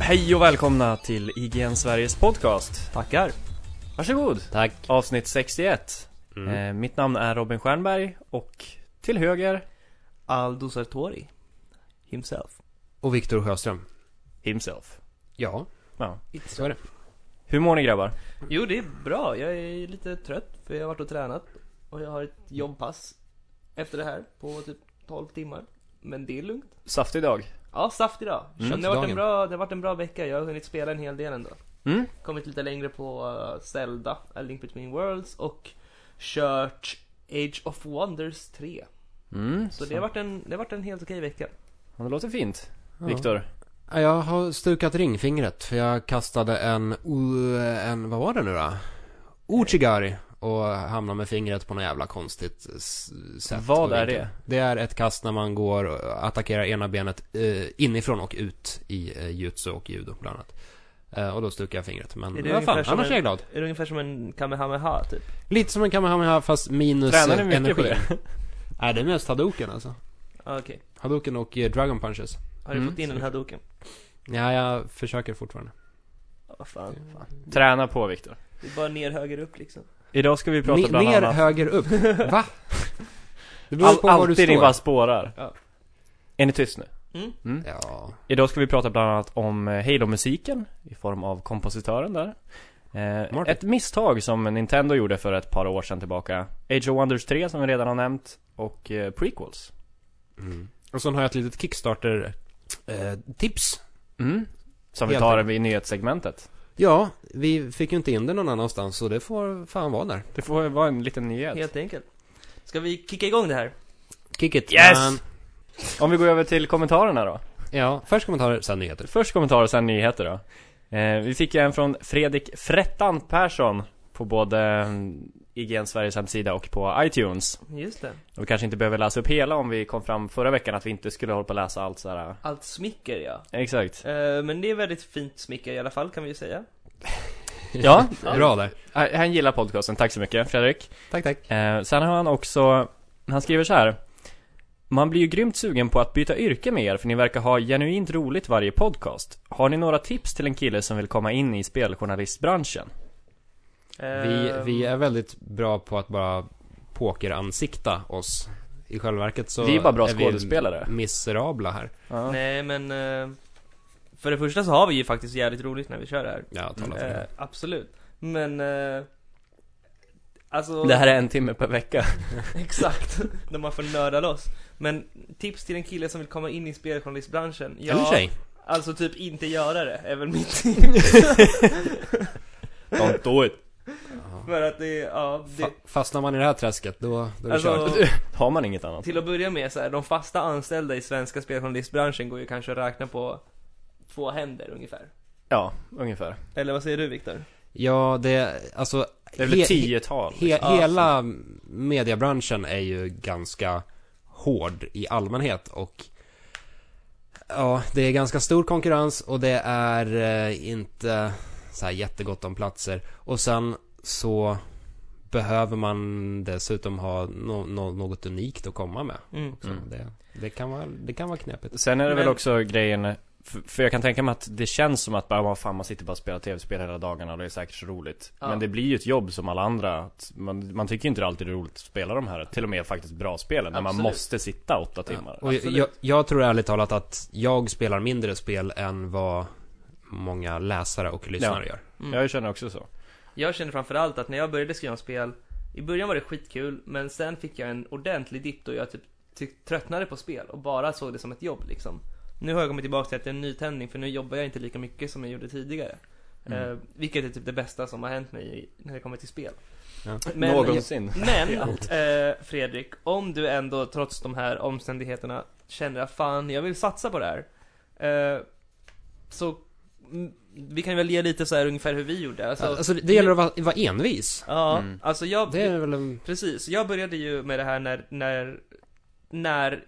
Hej och välkomna till IGN Sveriges podcast. Tackar. Varsågod. Tack. Avsnitt 61. Mm. Eh, mitt namn är Robin Stjernberg och till höger, Aldo Sartori. Himself. Och Viktor Sjöström. himself. Ja, Ja. så är det. Hur mår ni grabbar? Jo, det är bra. Jag är lite trött för jag har varit och tränat. Och jag har ett jobbpass efter det här på typ 12 timmar. Men det är lugnt. Saftig dag. Ja, saft idag. Mm. Det, har varit en Dagen. bra, det har varit en bra vecka. Jag har hunnit spela en hel del ändå. Mm? Kommit lite längre på eh, Zelda, A Link Between Worlds och kört Age of Wonders 3. Mm. Så det har varit en, det har varit en helt okej vecka. Ja, Det låter fint. Ja. Viktor. Ja, Jag har stukat ringfingret för jag kastade en, o- en vad var det nu då? Ochigari och hamnade med fingret på något jävla konstigt s- sätt. Vad och är vinkel. det? Det är ett kast när man går och attackerar ena benet eh, inifrån och ut i eh, jutsu och judo bland annat. Eh, och då stukade jag fingret. Är Men det vad fan, ungefär som annars en- är jag glad. Är det ungefär som en Kamehameha typ? Lite som en Kamehameha fast minus Tränar ni eh, mycket på energi. det? Nej, det är mest hadoken alltså. Ah, Okej. Hadoken och eh, dragon punches. Har du Mm. fått in den här doken? Ja, jag försöker fortfarande. Ja, Vad fan. fan. Träna på Viktor. Det är bara ner, höger, upp liksom. Idag ska vi prata Ne- bland ner, annat... höger, upp. Va? Det beror All, på var du alltid ni står. bara spårar. Ja. Är ni tyst nu? Mm. Ja. Idag ska vi prata bland annat om eh, Halo-musiken i form av kompositören där. Eh, Martin. ett misstag som Nintendo gjorde för ett par år sedan tillbaka. Age of Wonders 3 som vi redan har nämnt och eh, prequels. Mm. Och sen har jag ett litet eh, Kickstarter-tips. Mm. Som vi Helt tar enkelt. i nyhetssegmentet. ja, vi fick ju inte in det någon annanstans så det får fan vara där. Det får vara en liten nyhet. Helt enkelt. Ska vi kicka igång det här? Kick it. Yes! man. Om vi går över till kommentarerna då. Ja, först kommentarer, sen nyheter. Först kommentarer, sen nyheter då. Eh, vi fick en från Fredrik Frettan Persson på både mm, IGN Sveriges hemsida och på iTunes. Just det. Och vi kanske inte behöver läsa upp hela om vi kom fram förra veckan att vi inte skulle hålla på och läsa allt så här. Allt smicker ja. Exakt. Eh, men det är väldigt fint smicker i alla fall kan vi ju säga. Ja, Bra där. han Äh, han gillar podcasten. Tack så mycket Fredrik. Tack, tack. Eh, sen har han också, han skriver så här. Man blir ju grymt sugen på att byta yrke med er för ni verkar ha genuint roligt varje podcast. Har ni några tips till en kille som vill komma in i speljournalistbranschen? Eh, Ehm. Vi, vi är väldigt bra på att bara pokeransikta oss. I själva verket så Vi är bara bra skådespelare. miserabla här. Ja. Nej men... eh, för det första så har vi ju faktiskt jävligt roligt när vi kör det här. Ja, tala för Eh, det. absolut. Men... eh, alltså... Det här är en timme per vecka. Exakt. när man får nörda loss. Men tips till en kille som vill komma in i speljournalistbranschen. Ja, Eller tjej. Alltså typ inte göra det, är väl mitt Don't do it. För att det, ja, det, Fa- fastnar man i det här träsket då, då är det Alltså, kört. Har man inget annat? till att börja med så här, de fasta anställda i svenska speljournalistbranschen går ju kanske att räkna på två händer ungefär. Ja, ungefär. Eller vad säger du Viktor? Ja, det, alltså Det är väl he- ett tiotal. he- Ja, Hela mediebranschen är ju ganska hård i allmänhet och Ja, det är ganska stor konkurrens och det är eh, inte så här jättegott om platser. Och sen så behöver man dessutom ha nå- nå- något unikt att komma med. Mm. Så det, det, kan vara, det kan vara knepigt. Sen är det väl Men- också grejen för, för jag kan tänka mig att det känns som att bara, "Vad fan man sitter bara och spelar tv-spel hela dagarna och det är säkert så roligt Ja. Men det blir ju ett jobb som alla andra att man, man tycker ju inte alltid det är roligt att spela de här Till och med faktiskt bra spelen när man Absolut. måste sitta åtta timmar Och Absolut. jag, jag tror ärligt talat att jag spelar mindre spel än vad många läsare och lyssnare gör. Jag känner också så mm. Jag känner framförallt att när jag började skriva om spel, i början var det skitkul, men sen fick jag en ordentlig dipp då jag typ ty- tröttnade på spel och bara såg det som ett jobb liksom. Nu har jag kommit tillbaka till att det är en nytändning för nu jobbar jag inte lika mycket som jag gjorde tidigare. Mm. Eh, vilket är typ det bästa som har hänt mig i- när det kommer till spel. Ja. Men- Någonsin Men eh, Fredrik, om du ändå trots de här omständigheterna känner att fan, jag vill satsa på det här. Eh, så mm, vi kan väl ge lite så här ungefär hur vi gjorde. Alltså, Alltså, det gäller att vara, vara envis. Ja, Mm. alltså jag, Det är väl en... precis. Jag började ju med det här när, när, när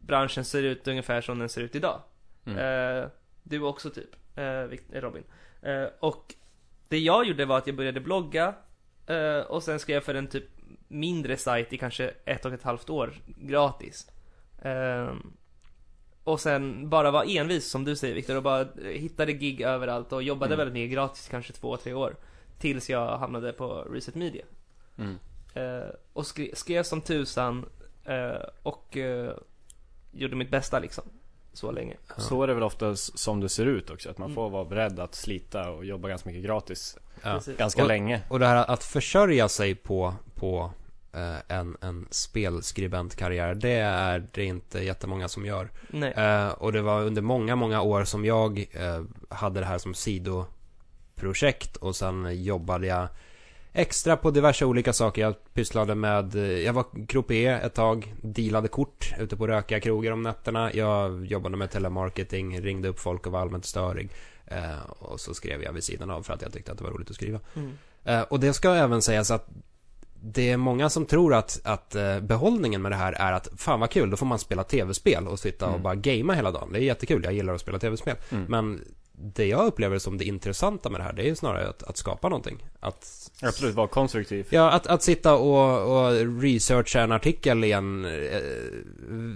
branschen ser ut ungefär som den ser ut idag. mm. Eh, du också typ, eh, Vic- eh, Robin. Eh, och det jag gjorde var att jag började blogga eh, och sen skrev jag för en typ mindre sajt i kanske ett och ett halvt år gratis. Eh, Och sen bara vara envis som du säger Viktor och bara eh, hittade gig överallt och jobbade Mm. väldigt mycket gratis kanske två, tre år. Tills jag hamnade på Reset Media. Mm. Eh, och skre- skrev som tusan eh, och eh, gjorde mitt bästa liksom. Så länge. Ja. Så är det väl ofta s- som det ser ut också, att man Mm. får vara beredd att slita och jobba ganska mycket gratis Ja. Precis. ganska Och- länge. Och det här att försörja sig på, på eh, en, en spelskribentkarriär, det är det inte jättemånga som gör. Nej. Eh, och det var under många, många år som jag eh, hade det här som sidoprojekt och sen jobbade jag extra på diverse olika saker. Jag pysslade med, eh, jag var croupier ett tag, dealade kort ute på rökiga krogar om nätterna. Jag jobbade med telemarketing, ringde upp folk och var allmänt störig. Eh, och så skrev jag vid sidan av för att jag tyckte att det var roligt att skriva. Mm. Eh, Och det ska även sägas att det är många som tror att, att eh, behållningen med det här är att fan vad kul, då får man spela tv-spel och sitta och Mm. bara gamea hela dagen. Det är jättekul, jag gillar att spela tv-spel. Mm. Men det jag upplever som det intressanta med det här, det är ju snarare att, att skapa någonting. Att, Absolut, vara konstruktiv. ja, att, att sitta och, och researcha en artikel i en eh,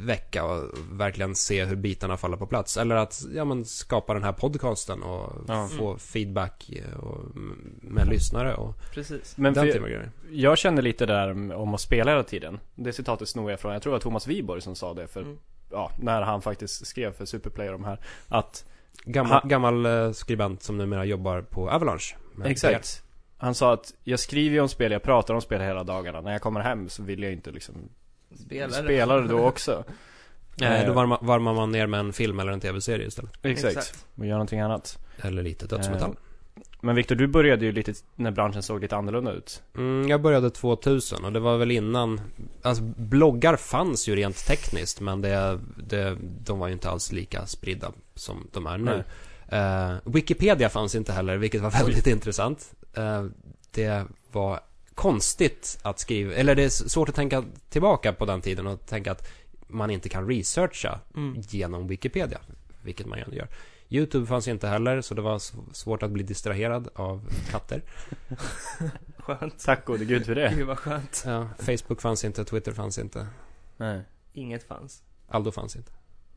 vecka och verkligen se hur bitarna faller på plats. Eller att ja, men skapa den här podcasten och Ja. Mm. få feedback eh, och, med lyssnare och Precis. Men den för, typen av grejer. Jag kände lite där om- om att spela hela tiden. Det citatet snor jag från, jag tror det var Thomas Wiborg som sa det för, Mm. ja, när han faktiskt skrev för Superplayer om här. Att, Gammal, Ha- gammal eh, skribent som numera jobbar på Avalanche. med PR. exakt. Han sa att jag skriver ju om spel, jag pratar om spel hela dagarna. När jag kommer hem så vill jag inte liksom Spelare. spela det då också. Eh, då Eh, varma, varmar man ner med en film eller en tv-serie istället. Exakt. Och gör någonting annat. Eh, Eller lite dödsmetall. Men Viktor, du började ju lite när branschen såg lite annorlunda ut. Mm, jag började 2000 och det var väl innan... Alltså bloggar fanns ju rent tekniskt men det, det, de var ju inte alls lika spridda som de är nu. Eh, Wikipedia fanns inte heller vilket var väldigt intressant. Eh, det var konstigt att skriva, eller det är s- svårt att tänka tillbaka på den tiden och tänka att man inte kan researcha Mm. genom Wikipedia, vilket man ju ändå gör. YouTube fanns inte heller, så det var sv- svårt att bli distraherad av katter. Skönt. Tack gode gud för det. Gud vad skönt. Ja, Facebook fanns inte, Twitter fanns inte, Nej, Inget fanns. Aldo fanns inte.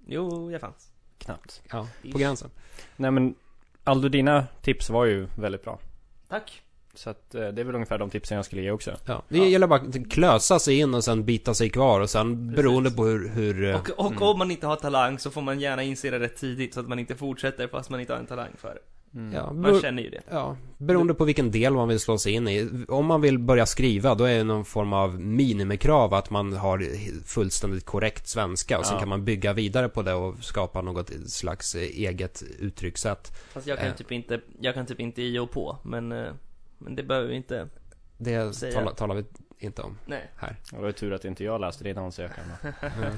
Jo, jag fanns. knappt. Ja, Ish. på gränsen. Nej men, Aldo dina tips var ju väldigt bra. Tack. Så att eh, det är väl ungefär de tipsen jag skulle ge också. Ja. Det Ja. gäller bara att klösa sig in och sen bita sig kvar och sen Precis. beroende på hur, hur eh, Och, och om man inte har talang så får man gärna inse det rätt tidigt så att man inte fortsätter fast man inte har en talang för det. Mm. ja, Man beror- känner ju det. Ja, beroende på vilken del man vill slå sig in i. Om man vill börja skriva, då är det någon form av minimikrav att man har fullständigt korrekt svenska och sen Ja. kan man bygga vidare på det och skapa något slags eget uttryckssätt. Fast jag kan Eh. typ inte, jag kan typ inte i och på men, eh, men det behöver vi inte. Det Säga. talar, talar vi inte om. Nej. Det var ju tur att inte jag läste din ansökan. då. Mm.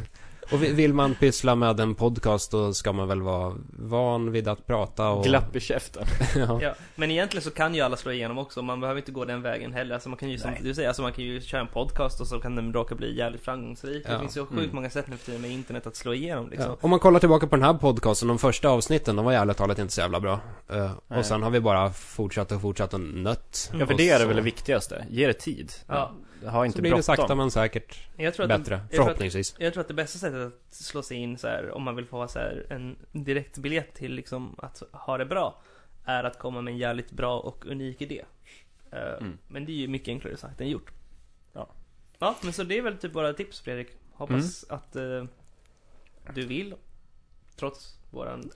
Och vi- vill man pyssla med en podcast, då ska man väl vara van vid att prata och... Glapp i käften. ja. Ja. Men egentligen så kan ju alla slå igenom också, man behöver inte gå den vägen heller. Alltså man kan ju som Nej. du säger, alltså man kan ju köra en podcast och så kan den råka bli jävligt framgångsrik. Det Ja. finns så sjukt Mm. många sätt nu för tiden med internet att slå igenom liksom. Ja. Om man kollar tillbaka på den här podcasten, de första avsnitten, de var i ärligt talat inte så jävla bra. Eh, Nej. och sen har vi bara fortsatt och fortsatt och nött. Ja för Och det är det så- väl det viktigaste. Ge det tid. Ja. Ha inte Så blir det sakta bråttom. men säkert. Jag tror att den- Bättre, jag tror att- förhoppningsvis. Jag tror att det bästa sättet att slå sig in så här, om man vill få ha så här, en direkt biljett till liksom att ha det bra är att komma med en jävligt bra och unik idé. Eh, Mm. Men det är ju mycket enklare sagt än gjort. Ja. Ja, men så det är väl typ våra tips Fredrik. Hoppas Mm. att eh, du vill. Trots våran...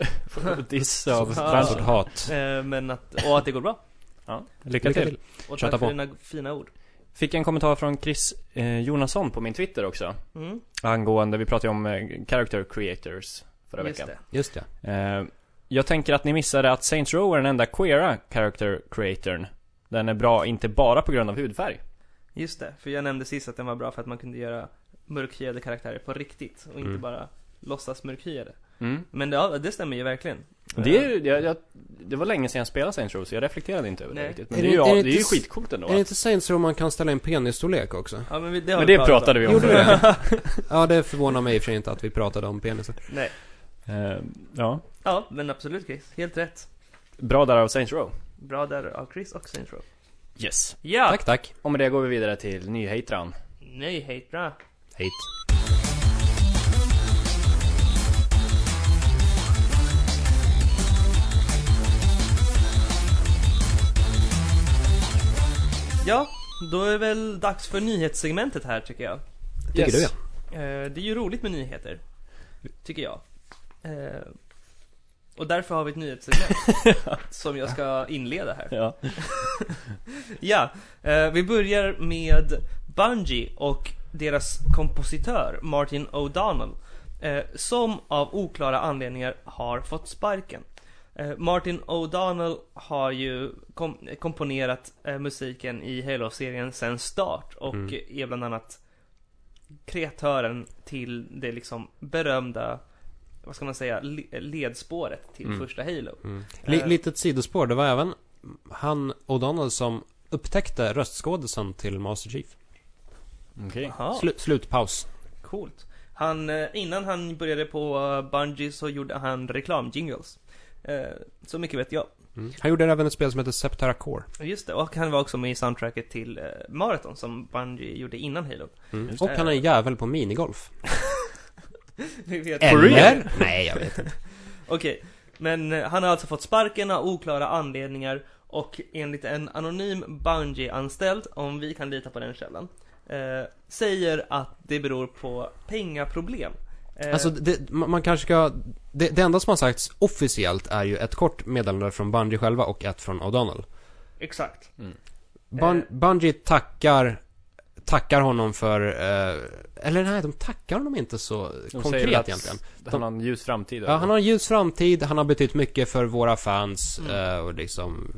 Diss av Ja. branschen. Sorts hat. eh, men att, och att det går bra. Ja. Lycka Lycka till. till. Och Köta tack för på. dina fina ord. Fick en kommentar från Chris eh, Jonasson på min Twitter också. Mm, Angående, vi pratade ju om eh, character creators förra just veckan. det. Just det. Eh, jag tänker att ni missade att Saints Row är den enda queera character creatorn. Den är bra inte bara på grund av hudfärg. Just det, för jag nämnde sist att den var bra för att man kunde göra mörkhyade karaktärer på riktigt och inte Mm. bara låtsas mörkhyade. Mm. Eh. Men det, ja, det stämmer ju verkligen. Eh, Det, är, ju- jag, jag, det var länge sedan jag spelade Saints Row så jag reflekterade inte över det Nej. riktigt. Men Är det är det- ju, är det det är ju inte- skitcoolt ändå. Är det inte Saints Row man kan ställa in penisstorlek också? Ja, men vi, det har Men vi det pratade vi om Gjorde förut. det? Ja, det förvånar mig i och för sig inte att vi pratade om penisar. Nej. Eh, ja. Ja, men absolut Chris. Helt rätt. Bra där av Saints Row. Bra där av Chris och Saints Row. Yes. Ja! Tack, tack. Och med det går vi vidare till nyhetran. Nej, hate bra. Hej. Ja, då är det väl dags för nyhetssegmentet här tycker jag. Tycker Yes. du ja. Eh, det är ju roligt med nyheter. Tycker jag. Eh, och därför har vi ett nyhetssegment. som jag ska inleda här. Ja. Ja, eh, vi börjar med Bungie och deras kompositör Martin O'Donnell. Eh, som av oklara anledningar har fått sparken. Eh, Martin O'Donnell har ju kom- komponerat eh, musiken i Halo-serien sedan start och Mm. är bland annat kreatören till det liksom berömda, vad ska man säga, le- ledspåret till Mm. första Halo. Mm. Li- Eh. litet sidospår, det var även han O'Donnell som upptäckte röstskådisen till Master Chief. Okej. Aha. Slu- slutpaus. Coolt. Han, eh, innan han började på eh, Bungie så gjorde han reklamjingles. Eh, Så mycket vet jag. Mm. Han gjorde även ett spel som heter Septera Core. Mm. Just det, och han var också med i soundtracket till eh, Marathon som Bungie gjorde innan Halo. Mm. Just Och det. han är en jävel på minigolf. Vi vet- Eh. Eller? Nej, jag vet inte. Okej, men eh, han har alltså fått sparken av oklara anledningar och enligt en anonym Bungie-anställd, om vi kan lita på den källan, eh, säger att det beror på pengaproblem. Eh, Alltså, det, man man kanske ska... Det, det enda som har sagts officiellt är ju ett kort meddelande från Bungie själva och ett från O'Donnell. exakt. Bun, Eh. Bungie tackar, tackar honom för... Eh, eller nej, de tackar honom inte så De säger konkret att egentligen. Han har en ljus framtid. Ja, han har en ljus framtid, han har betytt mycket för våra fans Mm. eh, och liksom...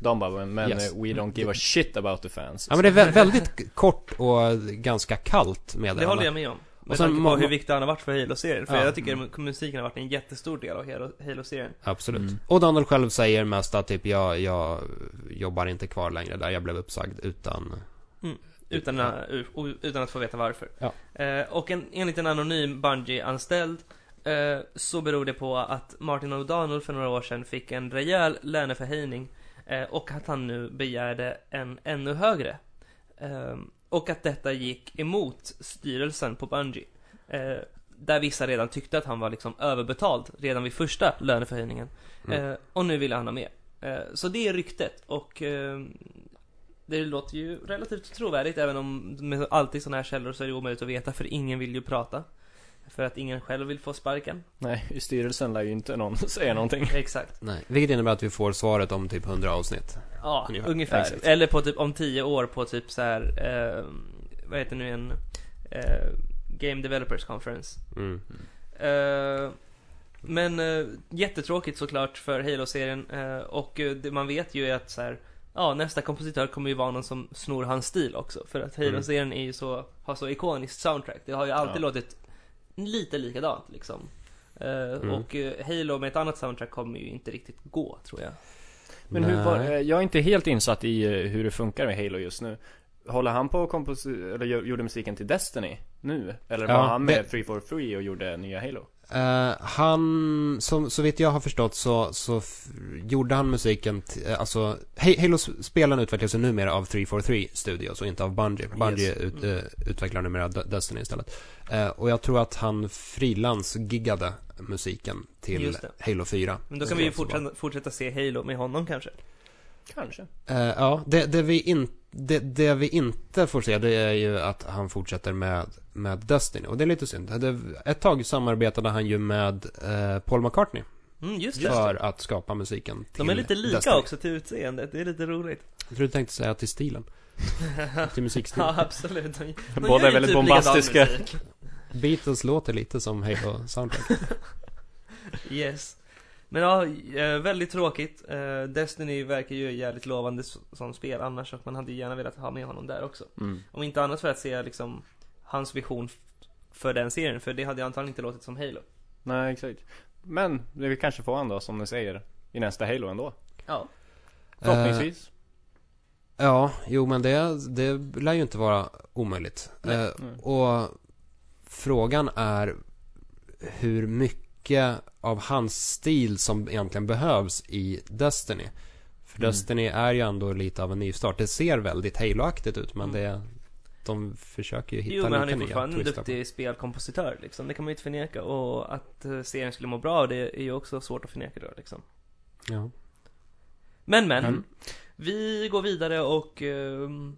De bara, men Yes. eh, we don't give a shit about the fans. Ja men det är vä- väldigt k- kort och ganska kallt med Det håller jag med om. Med sen tanke må- på hur viktig han har varit för Halo-serien. För Ja. Mm. jag tycker mu- musiken har varit en jättestor del av Halo- Halo-serien. Absolut. Mm. Och Donald själv säger mest att typ jag, jag jobbar inte kvar längre där jag blev uppsagd utan... Utan, att- u- utan att få veta varför. Ja. Eh, och en, enligt en anonym Bungie-anställd eh, så beror det på att Martin O'Donnell för några år sedan fick en rejäl löneförhöjning eh, och att han nu begärde en ännu högre. Eh, och att detta gick emot styrelsen på Bungie. Eh, där vissa redan tyckte att han var liksom överbetald redan vid första löneförhöjningen. Mm. Eh, och nu ville han ha mer. Eh, så det är ryktet och eh, det låter ju relativt trovärdigt även om med alltid sådana här källor så är det omöjligt att veta för ingen vill ju prata. För att ingen själv vill få sparken. Nej, i styrelsen lär ju inte någon säga någonting. Exakt. Nej. Vilket innebär att vi får svaret om typ 100 avsnitt. Ja, Ungefär. ungefär. Exakt. Eller på typ om tio år på typ så här, eh, vad heter nu en eh, Game Developers Conference. Mm. Eh, men eh, jättetråkigt såklart för Halo-serien eh, och eh, det man vet ju är att så här, ja nästa kompositör kommer ju vara någon som snor hans stil också för att Halo-serien är ju så, har så ikoniskt soundtrack. Det har ju alltid Ja. låtit lite likadant liksom. Eh, Och eh, Halo med ett annat soundtrack kommer ju inte riktigt gå tror jag. Men hur var, Nej. eh, jag är inte helt insatt i eh, hur det funkar med Halo just nu. Håller han på och kompos- eller gör- gjorde musiken till Destiny nu? Eller var Ja, han med det- 343 och gjorde nya Halo? Eh, han, som, så vitt jag har förstått så, så f- gjorde han musiken, t- eh, alltså Ha- Halo-spelen utvecklas ju numera av 343 Studios och inte av Bungie. Bungie Yes. ut, Mm. eh, utvecklar numera De- Destiny istället. Eh, och jag tror att han frilans-giggade musiken till Just det. Halo 4. Men då kan Det vi ju tror jag så fortsätta, fortsätta se Halo med honom kanske. Kanske. var. Eh, ja, det, det, vi in, det, det vi inte får se det är ju att han fortsätter med, med Destiny. Och det är lite synd. Det, ett tag samarbetade han ju med eh, Paul McCartney. Mm, just det. för att skapa musiken till De är lite lika Destiny. också till utseendet, det är lite roligt. Jag tror du tänkte säga till stilen. Till ja, musikstilen. absolut. De, de Båda gör ju typ är väldigt likadan bombastiska. musik. Beatles låter lite som Halo Soundtrack. Yes. Men ja, eh, väldigt tråkigt. Eh, Destiny verkar ju jävligt lovande s- som spel annars och man hade ju gärna velat ha med honom där också. Mm. Om inte annat för att se liksom hans vision f- för den serien, för det hade ju antagligen inte låtit som Halo. Nej, exakt. Men det kanske får han då, som ni säger, i nästa Halo ändå. Ja. Förhoppningsvis. Eh, ja, jo men det, det lär ju inte vara omöjligt. Nej. Eh, Mm. och frågan är hur mycket av hans stil som egentligen behövs i Destiny. För Mm. Destiny är ju ändå lite av en nystart. Det ser väldigt Halo-aktigt ut men Mm. det, de försöker ju hitta Jo men han lite är nya fortfarande en twister på duktig spelkompositör liksom, det kan man ju inte förneka. Och att eh, serien skulle må bra, det är ju också svårt att förneka då liksom. det. Ja. Men men. Mm. Vi går vidare och ehm,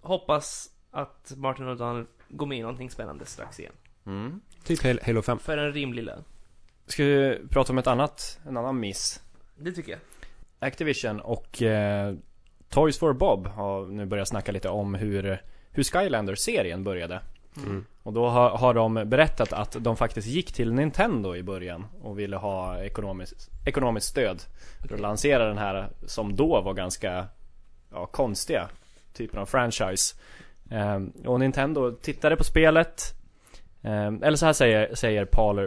hoppas att Martin O'Donnell går med i någonting spännande strax igen. Mm. Typ Halo- Halo 5. För en rimlig lön. Ska vi prata om ett annat, en annan miss? Det tycker jag. Activision och eh, Toys for Bob har nu börjat snacka lite om hur, hur Skylander-serien började. Mm. Och då har, har de berättat att de faktiskt gick till Nintendo i början och ville ha ekonomiskt, ekonomiskt stöd för att Okej. lansera den här som då var ganska ja, konstiga typen av franchise. Ehm, och Nintendo tittade på spelet. Ehm, eller så här säger, säger Paul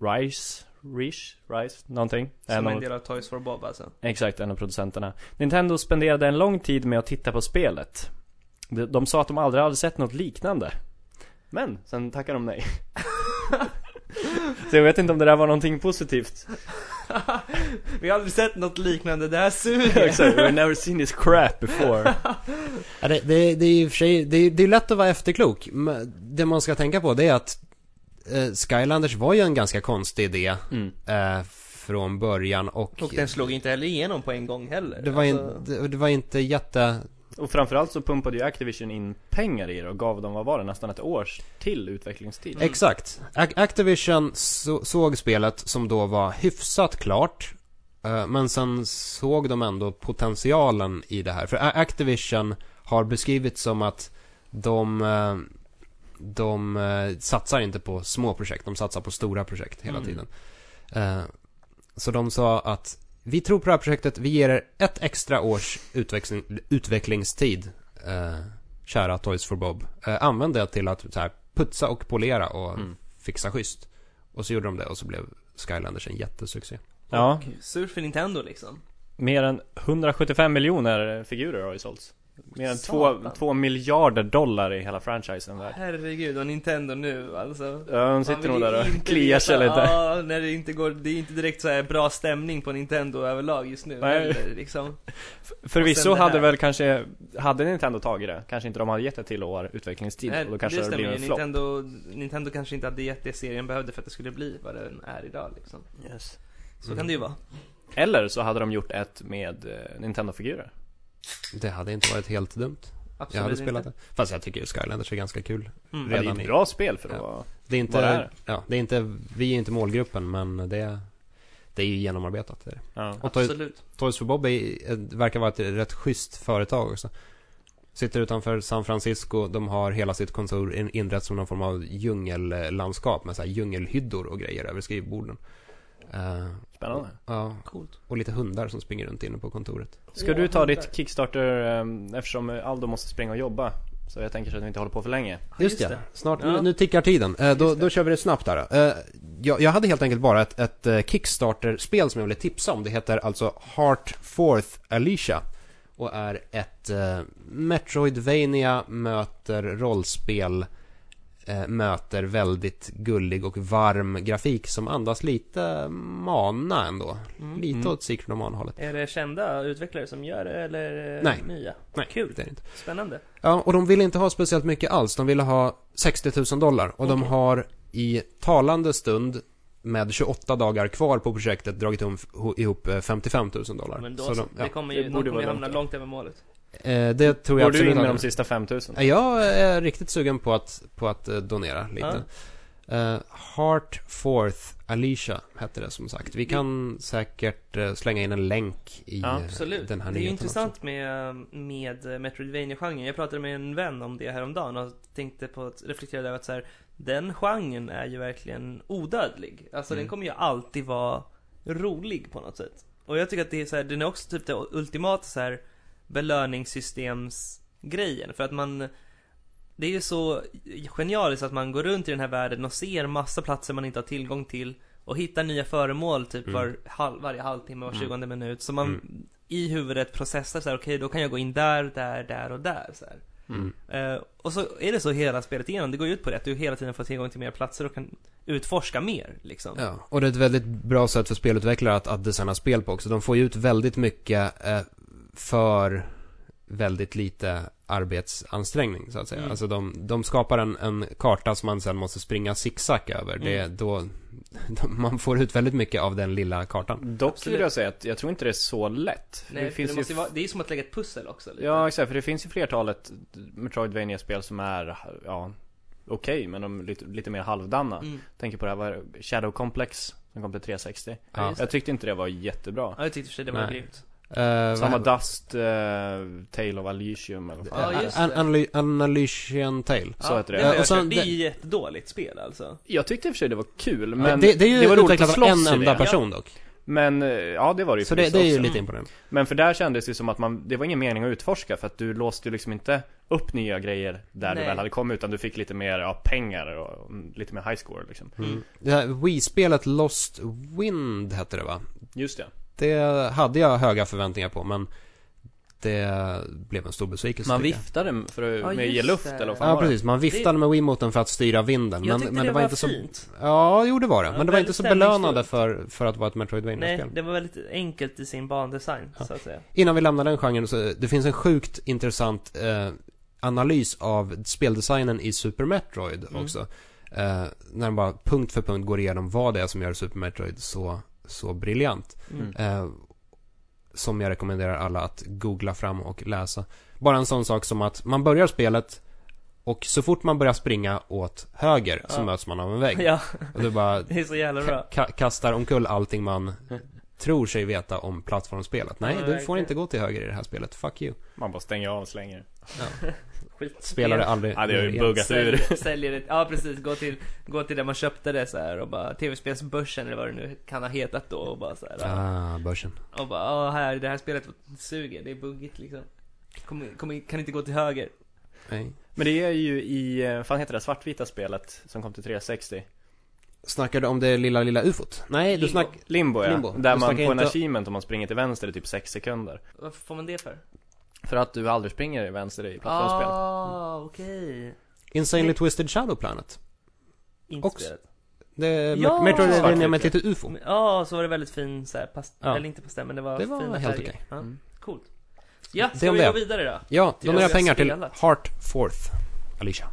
Rice, Rish, Rice, någonting. Ehm, Som En en av- del av Toys for Bob alltså. Exakt, en av producenterna. Nintendo spenderade en lång tid med att titta på spelet. De, de sa att de aldrig hade sett något liknande. Men, sen tackade de nej. Så jag vet inte om det där var någonting positivt. Vi har aldrig sett något liknande, det här suger! Exakt, we've never seen this crap before. Ja, det, det, det är ju i och för sig, det, är- det är lätt att vara efterklok. Men Det man ska tänka på det är att eh, Skylanders var ju en ganska konstig idé Mm. eh, från början och, Och den slog inte heller igenom på en gång heller. det, var Alltså, inte, det, det var inte jätte... Och framförallt så pumpade ju Activision in pengar i det och gav dem, vad var det, nästan ett års till utvecklingstid. Mm. Exakt. Ac- Activision så, såg spelet som då var hyfsat klart. eh, Men sen såg de ändå potentialen i det här. För A- Activision har beskrivits som att de, eh, de eh, satsar inte på små projekt, de satsar på stora projekt hela Mm. tiden. Eh, Så de sa att vi tror på det här projektet, vi ger er ett extra års utveckling, utvecklingstid, eh, kära Toys for Bob. Eh, använd det till att så här, putsa och polera och Mm. fixa schysst. Och så gjorde de det och så blev Skylanders en jättesuccé. Ja, och Surt för Nintendo liksom. mer än 175 miljoner figurer har ju sålts. Mer än två Satan. två miljarder dollar i hela franchisen där. Herregud, och Nintendo nu alltså. Ja, de Man sitter vill nog ju där och inte kliar veta- sig lite. Ja, när det inte går, det är inte direkt så här bra stämning på Nintendo överlag just nu Nej. heller, liksom. Förvisso Och sen det hade här. väl kanske, hade Nintendo tagit det, kanske inte de hade gett ett till år utvecklingstid Nej, och då kanske det, stämmer blir ju. en flopp. Nintendo, Nintendo kanske inte hade gett det serien behövde för att det skulle bli vad den är idag liksom. Så Mm. kan det ju vara. Eller så hade de gjort ett med eh, Nintendo-figurer. Det hade inte varit helt dumt. Absolut jag hade inte. spelat det. Fast jag tycker ju Skylanders är ganska kul. Mm. Ja, det är Redan ett i- bra spel för att Ja. vara... Det är inte, Bara är. ja, det är inte, vi är inte målgruppen men det, det är ju genomarbetat. Det är det. Ja. Och Toys, Absolut. Toys for Bob är, eh, verkar vara ett rätt schysst företag också. Sitter utanför San Francisco, de har hela sitt kontor in- inrett som någon form av djungellandskap med så här djungelhyddor och grejer över skrivborden. Eh, Spännande. ja, Coolt. och lite hundar som springer runt inne på kontoret. Ska du ta ditt Kickstarter, eh, eftersom Aldo måste springa och jobba? Så jag tänker så att vi inte håller på för länge. Just, just det. det. snart, Ja. nu, nu tickar tiden. Eh, då, Just det. då kör vi det snabbt här. då. Eh, jag, jag hade helt enkelt bara ett, ett eh, Kickstarter-spel som jag ville tipsa om. Det heter alltså Heart Forth Alicia. Och är ett eh, Metroidvania möter rollspel eh, möter väldigt gullig och varm grafik som andas lite mana ändå. Mm. Lite Mm. åt Secret of Mana-hållet. Är det kända utvecklare som gör det eller eh, Nej. nya? Nej, Kul. det är det inte. Spännande. Ja, och de ville inte ha speciellt mycket alls. De ville ha 60 000 dollar. Och de Okej. har i talande stund med 28 dagar kvar på projektet dragit um, ihop eh, 55 000 dollar. Men då Så så, de, ja. det kommer Det ju, borde någon vara kommer ju långt hamna där. långt över målet. Eh, det tror jag Går du absolut. in med hade- de sista 5000? Jag är riktigt sugen på att, på att eh, donera lite. Eh, Heart Forth Alicia hette det som sagt. Vi kan säkert eh, slänga in en länk i Ja, eh, Absolut. den här det är ju nyheten intressant med, med Metroidvania-genren. Jag pratade med en vän om det häromdagen och tänkte på att reflektera över att så här, den genren är ju verkligen odödlig. Alltså Mm. den kommer ju alltid vara rolig på något sätt. Och jag tycker att det är så här, den är också typ det ultimata så här belöningssystemsgrejen. För att man det är ju så genialiskt att man går runt i den här världen och ser massa platser man inte har tillgång till och hittar nya föremål typ Mm. var, halv, varje halvtimme, var Mm. tjugonde minut. Så man Mm. i huvudet processar så här, okej då kan jag gå in där, där, där och där så här. också. Mm. Eh, och så är det så hela spelet igenom. Det går ju ut på det att du hela tiden får tillgång till mer platser och kan utforska mer liksom. Ja, och det är ett väldigt bra sätt för spelutvecklare att, att designa spel på också. De får ju ut väldigt mycket eh, för väldigt lite arbetsansträngning så att säga. Mm. Alltså de, de skapar en, en karta som man sen måste springa zigzag över. Det är då, man får ut väldigt mycket av den lilla kartan. Dock Absolut. vill jag säga att jag tror inte det är så lätt. För Nej, det det, finns det, ju måste ju vara, det är ju som att lägga ett pussel också. Lite. Ja, exakt. För det finns ju flertalet Metroidvania-spel som är, ja, okej, men de är lite, lite mer halvdana. Mm. Tänker på det här, vad är det? Shadow Complex, som kom till 360. Ja, just det. Jag tyckte inte det var jättebra. ja, jag tyckte i och för sig det var Nej. grymt. Eh, Samma vad- Dust, eh, Tale of Elysium eller vad fan. Ja, eh, just An- det. Analy- Analysian Tale. Så ja, heter det. men Ja, och sen- det är ju ett dåligt spel alltså. Jag tyckte i och för sig det var kul, Ja, men Eh, det, det är ju var roligt att utvecklat av en slåss i enda det. person dock. Men, eh, ja det var det ju Så det, det är ju förvisso lite också. imponerande. Men för där kändes det som att man, det var ingen mening att utforska för att du låste ju liksom inte upp nya grejer där du Nej. väl hade kommit utan du fick lite mer, ja, pengar och mm, lite mer high score liksom. Mm. Det här Wii-spelet Lost Wind hette det va? Just det. Det hade jag höga förväntningar på men det blev en stor besvikelse. Man tycker jag. viftade för att, Ja, med att ge just luft det. eller vad fan Ja var det? precis, man viftade med Wiimoten för att styra vinden. Jag men, tyckte men det, det var, var inte så... fint. Ja, jo det var det. Ja, men det var väldigt inte så stämningsfullt. belönande för, för att vara ett Nej, Metroidvania-spel. det var väldigt enkelt i sin bandesign, Ja. så att säga. Innan vi lämnar den genren så, det finns en sjukt intressant eh, analys av speldesignen i Super Metroid Mm. också. Eh, när den bara punkt för punkt går igenom vad det är som gör Super Metroid så, så briljant. Mm. Eh, som jag rekommenderar alla att googla fram och läsa. Bara en sån sak som att man börjar spelet och så fort man börjar springa åt höger så Ja. möts man av en vägg. Ja, Och det bara det är så jävla bra. ka- kastar omkull allting man tror sig veta om plattformsspelet. Nej, Ja, du får verkligen. inte gå till höger i det här spelet. Fuck you. Man bara stänger av och slänger. Skit. Spelar det aldrig Ja, det har ju igen. buggat ur. Säljer, säljer det, ja precis, gå till, gå till där man köpte det så här och bara tv-spelsbörsen eller vad det nu kan ha hetat då och bara så här, Ah, börsen. Och bara, ja här, det här spelet suger, det är buggigt liksom. Kom, kom, in- kan inte gå till höger. Nej. Men det är ju i, eh, vad fan heter det, svartvita spelet som kom till 360? Snackar du om det lilla, lilla ufot? Nej, du Limbo. snack... Limbo ja, Limbo. där man Du på snackar en inte- achievement om man springer till vänster i typ 6 sekunder. Varför får man det för? För att du aldrig springer vänster i plattformsspel. Ah, okej. Insanely Twisted Shadow Planet. Inte Också. spelet. Det Ja! är ja! Metroidvania Svartvitt, med ett litet ufo. Men- Ja, så var det väldigt fin så här, past- Ja. eller inte pastell, men det var Det var fina helt färger. okej. Ja, Mm. coolt. Ja, Det ska om vi det. gå vidare då? Ja, Jag donera har pengar till spelat. Heart Forth, Alicia.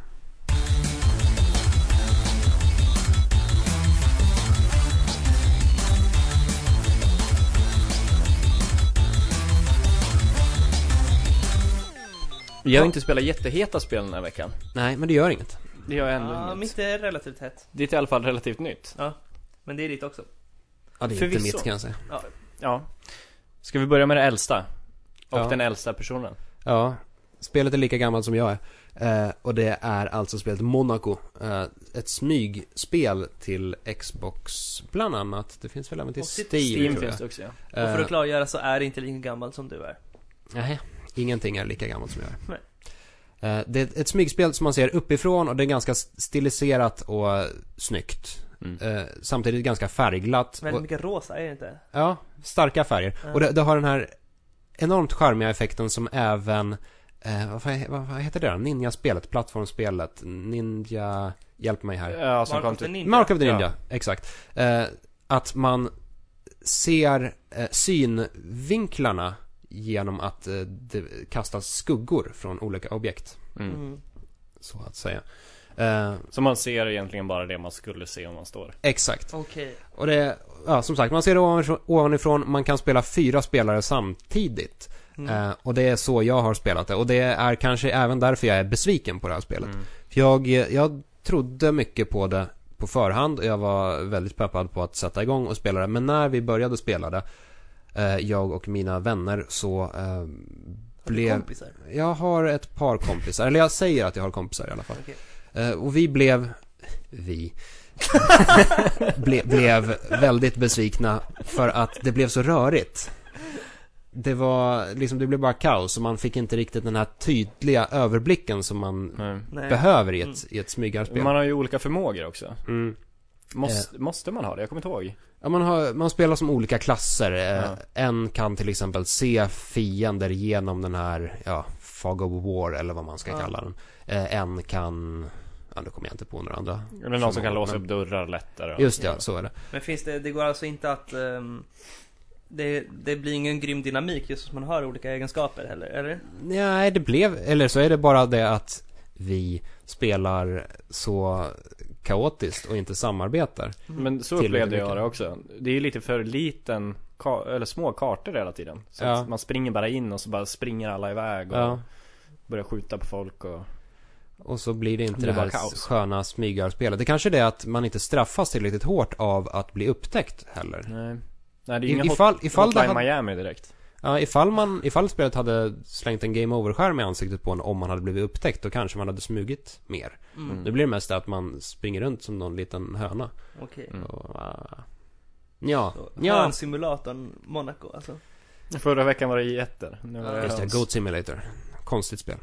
Jag har inte spelat jätteheta spel den här veckan. Nej, men det gör inget. Det gör jag ändå Ja, inget. Ah, mitt är relativt hett. Det är i alla fall relativt nytt. Men det är ditt också. Ja, det är Förvisso. inte mitt kan jag säga. Ja, Ja. Ska vi börja med det äldsta? Och Ja. den äldsta personen. Ja, spelet är lika gammalt som jag är. Eh, och det är alltså spelet Monaco. Eh, ett smygspel till Xbox bland annat. Det finns väl även till Och till Steam, Steam tror jag. finns det också ja. och för Eh, att klargöra så är det inte lika gammal som du är. Nej, Eh, ingenting är lika gammalt som jag är. Eh, Det är ett smygspel som man ser uppifrån och det är ganska stiliserat och eh, snyggt. Mm. Eh, Samtidigt ganska färgglatt. Väldigt och- mycket rosa, är det inte? Ja, starka färger. Ja. Och det, det har den här enormt charmiga effekten som även, eh, vad, fan, vad, vad heter det då? Ninja-spelet, plattformsspelet, Ninja, hjälp mig här. Ja, som Mark kom of the till... Ninja. Mark of the Ja. Ninja, exakt. Eh, att man ser eh, synvinklarna genom att eh, det kastas skuggor från olika objekt, Mm. Mm. så att säga. Eh, Så man ser egentligen bara det man skulle se om man står. exakt. Okej. Och det, ja som sagt, man ser det ovanifrån, ovanifrån man kan spela fyra spelare samtidigt. Mm. Eh, och det är så jag har spelat det. Och det är kanske även därför jag är besviken på det här spelet. Mm. För jag, eh, jag trodde mycket på det på förhand och jag var väldigt peppad på att sätta igång och spela det. Men när vi började spela det, eh, jag och mina vänner, så eh, Blev... blev... Kompisar. Jag har ett par kompisar, eller jag säger att jag har kompisar i alla fall. Okej. Eh, och vi blev... Vi... Ble, blev väldigt besvikna för att det blev så rörigt. Det var liksom, det blev bara kaos och man fick inte riktigt den här tydliga överblicken som man Nej. Nej. behöver i ett, Mm. i ett smygarspel. Man har ju olika förmågor också. Mm. Måste, måste man ha det? Jag kommer inte ihåg. Ja, man, har, man spelar som olika klasser. Eh, Ja. En kan till exempel se fiender genom den här, ja, fog of war eller vad man ska Ja. kalla den. Eh, En kan, ja nu kommer jag inte på några andra. Eller någon som kan låsa Men- upp dörrar lättare. och- Just det, ja, så är det. Men finns det, det går alltså inte att ehm, det, det blir ingen grym dynamik just som man har olika egenskaper heller, eller? Nej, det blev, eller så är det bara det att vi spelar så kaotiskt och inte samarbetar. Mm. Men så Tillräckligt upplevde jag mycket. det också. Det är ju lite för liten, ka- eller små kartor hela tiden. Så Ja. att man springer bara in och så bara springer alla iväg och Ja. börjar skjuta på folk och... Och så blir det inte Det det, blir bara här kaos. sköna smygarspelet. Det kanske är det att man inte straffas tillräckligt hårt av att bli upptäckt heller. Nej. Nej, det är I- ju inga ifall, ifall, det Hotline hade, Miami direkt. ja, ifall, man, ifall spelet hade slängt en game over-skärm i ansiktet på en om man hade blivit upptäckt, då kanske man hade smugit mer. Mm. Mm. Nu blir det mest att man springer runt som någon liten höna. Okej. Mm. Och, ah. ja, Så, ja. Hörnsimulatorn Monaco alltså. Förra veckan var det jätter. Nu var Ja, det Just det, höns. Goat Simulator. Konstigt spel.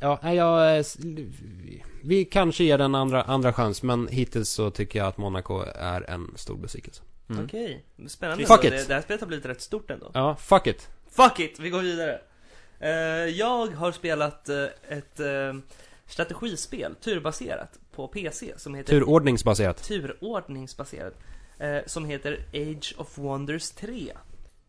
Ja, nej, jag... eh, s- Vi kanske ger den andra, andra chans, men hittills så tycker jag att Monaco är en stor besvikelse. Mm. Okej, spännande. Fuck Så it. Det, det här spelet har blivit rätt stort ändå. Ja, fuck it. Fuck it, vi går vidare. Eh, jag har spelat eh, ett eh, strategispel, turbaserat, på PC som heter Turordningsbaserat. turordningsbaserad eh, som heter Age of Wonders 3.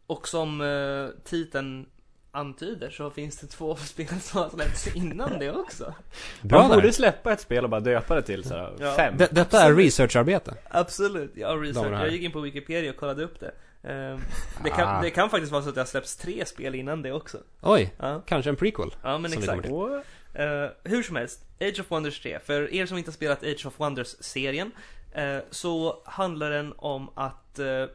Och som eh, titeln antyder så finns det två spel som har släppts innan det också. Bra Man borde där. släppa ett spel och bara döpa det till såhär, Ja. fem. De, detta är researcharbete. Absolut, jag har De research. här. Jag gick in på Wikipedia och kollade upp det. Eh, det, kan, Ah. det kan faktiskt vara så att det har släppts tre spel innan det också. Oj, Ja, kanske en prequel. ja men Som vi exakt. kommer till. What? Eh, hur som helst, Age of Wonders 3. För er som inte har spelat Age of Wonders-serien eh, så handlar den om att eh,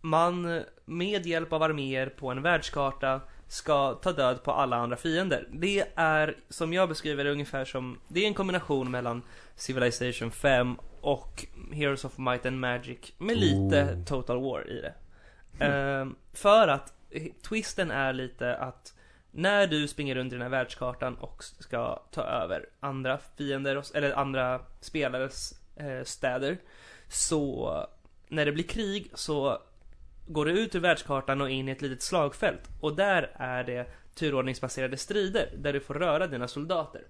man med hjälp av arméer på en världskarta ska ta död på alla andra fiender. Det är, som jag beskriver det, ungefär som, det är en kombination mellan Civilization 5 och Heroes of Might and Magic med lite Ooh. Total War i det. Ehm, för att eh, twisten är lite att när du springer runt i den här världskartan och ska ta över andra fiender, och- eller andra spelares eh, städer, så när det blir krig så går du ut ur världskartan och in i ett litet slagfält och där är det turordningsbaserade strider där du får röra dina soldater.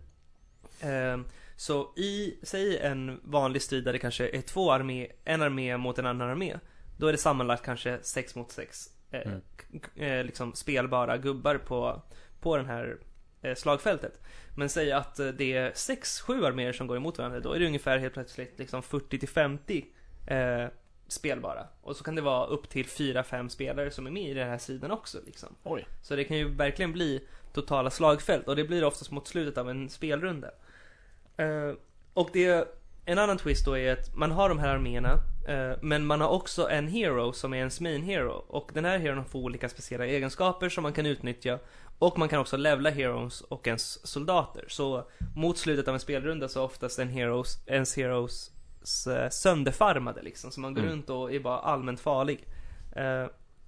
Ehm, Så i, säg en vanlig strid där det kanske är två armé, en armé mot en annan armé. Då är det sammanlagt kanske sex mot sex eh, Mm. k- k- eh, liksom spelbara gubbar på, på den här eh, slagfältet. Men säg att eh, det är sex, sju arméer som går emot varandra. Då är det ungefär helt plötsligt liksom 40 till 50 eh, spelbara. Och så kan det vara upp till 4-5 spelare som är med i den här sidan också liksom. Oj. Så det kan ju verkligen bli totala slagfält och det blir det oftast mot slutet av en spelrunda. Eh, och det, en annan twist då är att man har de här arméerna eh, men man har också en hero som är ens main hero och den här heron får olika speciella egenskaper som man kan utnyttja och man kan också levla heroes och ens soldater. Så mot slutet av en spelrunda så är oftast en heroes, ens heroes eh, sönderfarmade liksom. Så man går Mm. runt och är bara allmänt farlig. Eh,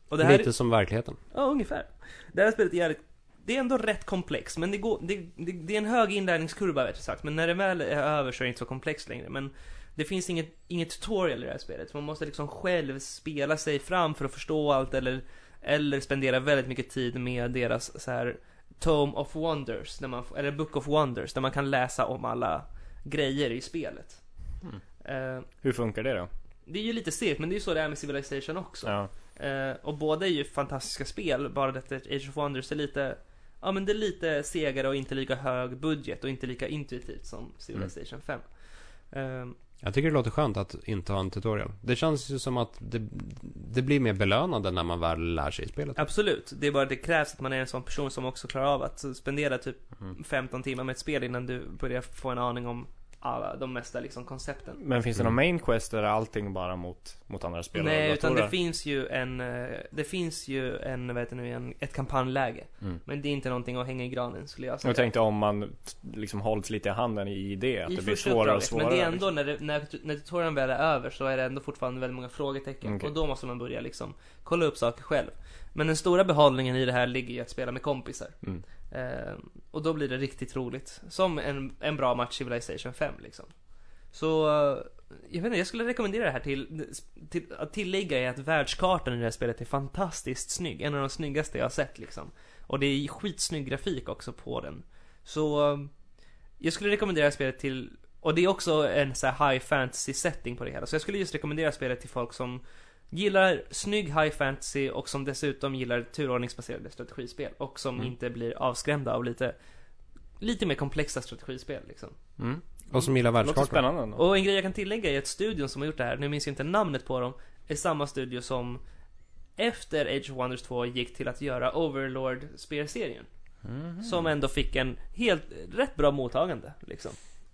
och det här Lite som verkligheten. Ja, ungefär. Det här spelet är jävligt... Det är ändå rätt komplext, men det, går, det, det, det är en hög inlärningskurva rätt sagt. Men när det väl är över så är det inte så komplext längre. Men det finns inget, inget tutorial i det här spelet. Man måste liksom själv spela sig fram för att förstå allt eller, eller spendera väldigt mycket tid med deras så här Tome of Wonders, när man, får- eller Book of Wonders, där man kan läsa om alla grejer i spelet. Mm. Eh, Hur funkar det då? det är ju lite segt, men det är ju så det är med Civilization också. Ja. Eh, och båda är ju fantastiska spel, bara detta att Age of Wonders är lite, ja men det är lite segare och inte lika hög budget och inte lika intuitivt som Civilization 5. Eh, Jag tycker det låter skönt att inte ha en tutorial. Det känns ju som att det, det blir mer belönande när man väl lär sig spelet. absolut, det är bara att det krävs att man är en sån person som också klarar av att spendera typ 15 timmar med ett spel innan du börjar få en aning om alla, de mesta liksom koncepten. Men finns det någon Mm. main quest eller är allting bara mot, mot andra spelare? Nej, och utan datorer? det finns ju en, eh, det finns ju en, vad heter det nu igen, ett kampanjläge. Mm. Men det är inte någonting att hänga i granen skulle jag säga. Jag tänkte om man t- liksom hålls lite i handen i det, att det blir svårare och svårare. liksom. Men det är ändå när, det, när, när tutorialen väl är över så är det ändå fortfarande väldigt många frågetecken. Okej. Och då måste man börja liksom kolla upp saker själv. Men den stora behållningen i det här ligger ju att spela med kompisar. Mm. Eh, och då blir det riktigt roligt. Som en, en bra match Civilization 5 liksom. Så, eh, jag vet inte, jag skulle rekommendera det här till, till att tillägga är att världskartan i det här spelet är fantastiskt snygg. En av de snyggaste jag har sett liksom. Och det är skitsnygg grafik också på den. Så, eh, jag skulle rekommendera spelet till, och det är också en så här high fantasy setting på det hela. Så jag skulle just rekommendera spelet till folk som gillar snygg high fantasy och som dessutom gillar turordningsbaserade strategispel och som Mm. inte blir avskrämda av lite Lite mer komplexa strategispel liksom. Mm. Och som gillar Låter världskartan. spännande ändå. Och en grej jag kan tillägga är att studion som har gjort det här, nu minns jag inte namnet på dem, är samma studio som efter Age of Wonders 2 gick till att göra Overlord Spear-serien. Mhm. Som ändå fick en helt, rätt bra mottagande liksom.